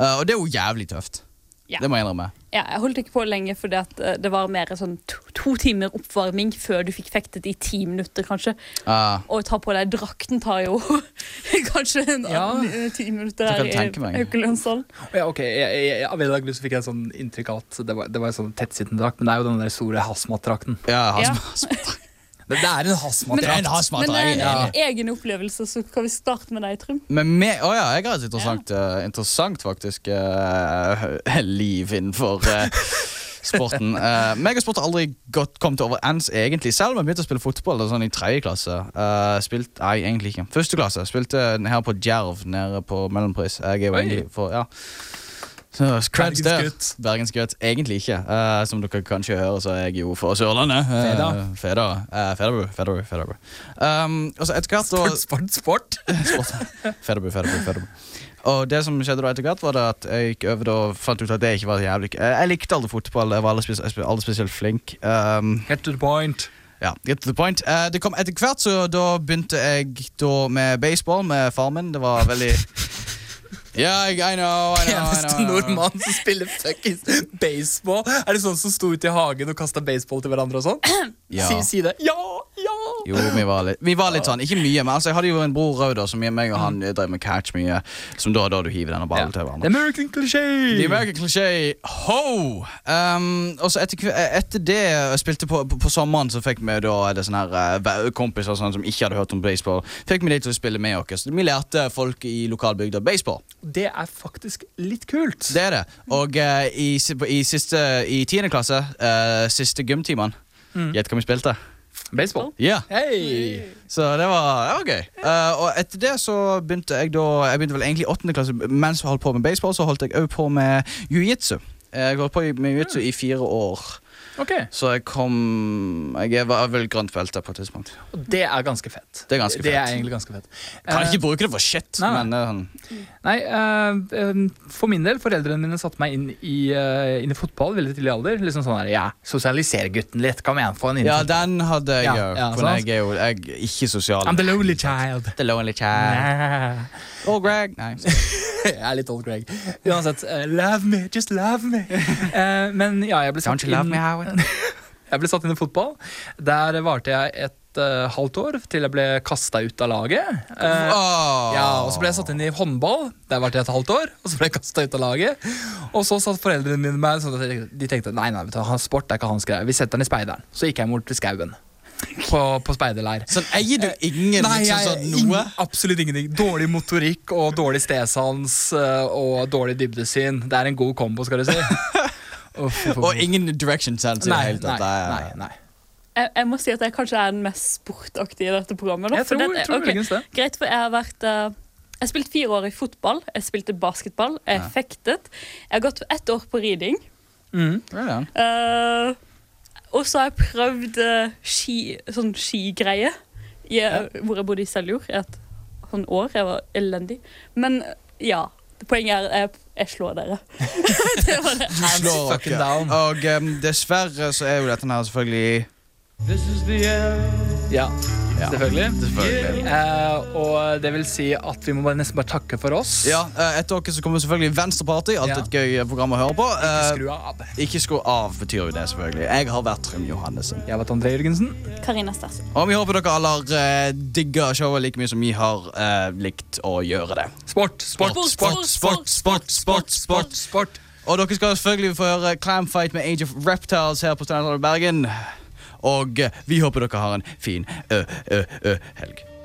Speaker 4: Eh, og det er jo jævlig tøft.
Speaker 6: Ja.
Speaker 4: Det må jeg innrømme.
Speaker 6: ja, jeg holdt ikke på lenge, for det var mer sånn to, to timer oppvarming før du fikk fektet i ti minutter, kanskje.
Speaker 4: Ah,
Speaker 6: Å ta på deg drakten tar jo (laughs) kanskje en
Speaker 5: Ja.
Speaker 6: annen eh, ti minutter
Speaker 4: Det
Speaker 6: her
Speaker 4: kan jeg tenke meg.
Speaker 6: i Haukelandshallen.
Speaker 5: Ja, ok, jeg, jeg, jeg, Av en eller annen grunn så fikk jeg sånn inntrykk av at det var, det var en sånn tettsittende drakt, men det er jo den der store hazmat-drakten.
Speaker 4: ja,
Speaker 6: Ja.
Speaker 4: hasma.
Speaker 5: Det, det er en
Speaker 4: Det er
Speaker 5: hazmat-drakt.
Speaker 4: en hasmat.
Speaker 6: Men det
Speaker 4: jeg
Speaker 6: er
Speaker 4: er
Speaker 6: en
Speaker 4: enig.
Speaker 6: egen opplevelse, så kan vi starte med deg, Trym.
Speaker 4: Men med, å ja, jeg har et interessant, eh, interessant faktisk eh, (laughs) liv innenfor eh, sporten. Eh, meg og sport har aldri gått, kommet overens egentlig, selv om jeg begynte å spille fotball da, sånn i tredje klasse. Eh, spilt, nei, egentlig ikke. Første klasse. Spilte her på Djerv, nede på Mellompris. Jeg er jo
Speaker 5: Oi.
Speaker 4: egentlig for, ja. Så, creds der.
Speaker 5: Bergensgutt.
Speaker 4: Bergensgutt. Egentlig ikke. Eh, som dere kanskje hører, så er jeg jo fra Sørlandet. Eh,
Speaker 5: Feda.
Speaker 4: Feda. Eh, Fedabu. Fedabu. Fedabu. Um, og så etter hvert så
Speaker 5: Sport, sport, sport.
Speaker 4: (laughs) Fedderbu, Fedderbu, Fedderbu. Og det som skjedde da etter hvert, var det at jeg gikk over da og fant ut at det ikke var jævlig Jeg jeg likte aldri fotball, jeg var aldri, spes jeg spe- aldri spesielt flink. Um,
Speaker 5: Get to the point.
Speaker 4: ja, get to the point. Eh, det kom etter hvert, så da begynte jeg da med baseball med far min. Det var veldig Ja, jeg- I know, I know, I know. I
Speaker 5: Eneste
Speaker 4: know.
Speaker 5: nordmann som spiller fuckings baseball. Er det sånn som sto ute i hagen og kasta baseball til hverandre og sånn?
Speaker 4: (clears throat) Ja.
Speaker 5: Si, si det. Ja! Ja!
Speaker 4: Jo, vi var litt, vi var litt sånn. Ikke mye, men altså, jeg hadde jo en bror Rauder som meg og han eh, drev med catch mye. Som da, da du hiver denne ballen til hverandre.
Speaker 5: The American cliché!
Speaker 4: The American Cliché, ho! Um, og så etter, kve- etter det jeg spilte på, på, på sommeren, så fikk vi da det sånne her, eh, ve- kompiser og sånn som ikke hadde hørt om baseball. Fikk vi de til å spille med oss. Så Vi lærte folk i lokalbygda baseball.
Speaker 5: Det er faktisk litt kult.
Speaker 4: Det er det. Og eh, i, si- på- i siste, i tiende klasse, eh, siste gymtimen, gjett hva vi spilte.
Speaker 5: Baseball.
Speaker 4: Ja,
Speaker 5: Hei!
Speaker 4: Så det var, det var gøy. Eh, og etter det så begynte jeg da Jeg begynte vel egentlig i åttende klasse mens jeg holdt på med baseball, så holdt jeg òg på med jiu-jitsu. Eh, Jeg holdt på med jiu-jitsu i fire år.
Speaker 5: Ok,
Speaker 4: Så jeg kom Jeg var vel grøntfeltet på et tidspunkt.
Speaker 5: og Det er ganske fett.
Speaker 4: Det er ganske
Speaker 5: Det er
Speaker 4: fett.
Speaker 5: egentlig ganske fett.
Speaker 4: Kan
Speaker 5: Eh,
Speaker 4: ikke bruke det for shit,
Speaker 5: Nei, nei.
Speaker 4: men det er sånn-
Speaker 5: Nei, eh, eh, for min del, foreldrene mine satte meg inn i, eh, inn i fotball veldig tidlig alder. Liksom sånn her, ja, sosialiser gutten litt, kom igjen, få han inn. i
Speaker 4: Ja,
Speaker 5: fotball.
Speaker 4: den hadde jeg
Speaker 5: Ja,
Speaker 4: òg.
Speaker 5: ja,
Speaker 4: for
Speaker 5: sant.
Speaker 4: jeg er jo jeg, er ikke sosial.
Speaker 5: I'm the lonely child.
Speaker 4: The lonely child. Og Greg. (laughs) Nei.
Speaker 5: jeg er litt old Greg. Uansett, eh, love me, just love
Speaker 4: (laughs)
Speaker 5: me. Eh, men ja, jeg ble satt
Speaker 4: Don't you love
Speaker 5: inn-
Speaker 4: me, Howard?
Speaker 5: Jeg ble satt inn i fotball. Der varte jeg et eh, halvt år til jeg ble kasta ut av laget.
Speaker 4: (laughs)
Speaker 5: Eh,
Speaker 4: Åh.
Speaker 5: ja, og Så
Speaker 4: sånn,
Speaker 5: ble jeg satt inn i håndball. Der varte jeg et halvt år. Og så ble jeg kasta ut av laget. Og så satt foreldrene mine meg sånn at jeg- de tenkte nei, nei, vet du, han- sport er ikke hans greie. Vi setter han i speideren. Så gikk jeg bort til skauen. På, på speiderleir.
Speaker 4: Sånn eier du ingen
Speaker 5: Nei,
Speaker 4: liksom
Speaker 5: jeg,
Speaker 4: sånn noe?
Speaker 5: ingen- absolutt ingenting. Dårlig motorikk og dårlig stedsans eh, og dårlig dybdesyn. Det er en god kombo, skal du
Speaker 4: (laughs)
Speaker 5: si. Uff, uff, uff.
Speaker 4: Og ingen direction sense i det
Speaker 5: nei,
Speaker 4: hele
Speaker 5: nei,
Speaker 4: tatt.
Speaker 5: nei, nei.
Speaker 6: Jeg, jeg må si at jeg kanskje er den mest sportaktige i dette programmet. da,
Speaker 5: Jeg
Speaker 6: for
Speaker 5: tror,
Speaker 6: dette-
Speaker 5: tror
Speaker 6: ok,
Speaker 5: muligens det.
Speaker 6: Greit, for jeg har vært eh, Jeg spilte fire år i fotball, jeg spilte basketball, jeg fektet. Jeg har gått ett år på riding.
Speaker 4: Right on.
Speaker 6: eh, og så har jeg prøvd eh, ski, sånn skigreie, i, eh, hvor jeg bodde i Seljord i et sånn år. Jeg var elendig. Men eh, ja. Poenget er jeg, jeg slår dere. (laughs) det var det.
Speaker 4: Du slår
Speaker 5: fucking
Speaker 4: dere.
Speaker 5: down.
Speaker 4: Og em, dessverre så er jo dette her selvfølgelig
Speaker 5: Ja,
Speaker 4: Ja.
Speaker 5: selvfølgelig.
Speaker 4: Selvfølgelig.
Speaker 5: Eh, og det vil si at vi må bare nesten bare takke for oss.
Speaker 4: Ja, eh, Etter dere så kommer selvfølgelig Venstreparty. Alltid et gøy eh, program å høre på. Eh,
Speaker 5: Skru av.
Speaker 4: Ikke skru av betyr jo det, selvfølgelig. Jeg har vært Trym Johannessen.
Speaker 5: Jeg vet André Jørgensen.
Speaker 6: Karina Stersen.
Speaker 4: Og vi håper dere alle har eh, digga showet like mye som vi har eh, likt å gjøre det.
Speaker 5: Sport, sport,
Speaker 6: Sport,
Speaker 5: sport,
Speaker 6: sport,
Speaker 5: sport, sport, sport. sport.
Speaker 4: Og dere skal selvfølgelig få høre Clamfight med Age of Reptiles her på Steinar Bergen. Og eh, vi håper dere har en fin ø-ø-ø-helg.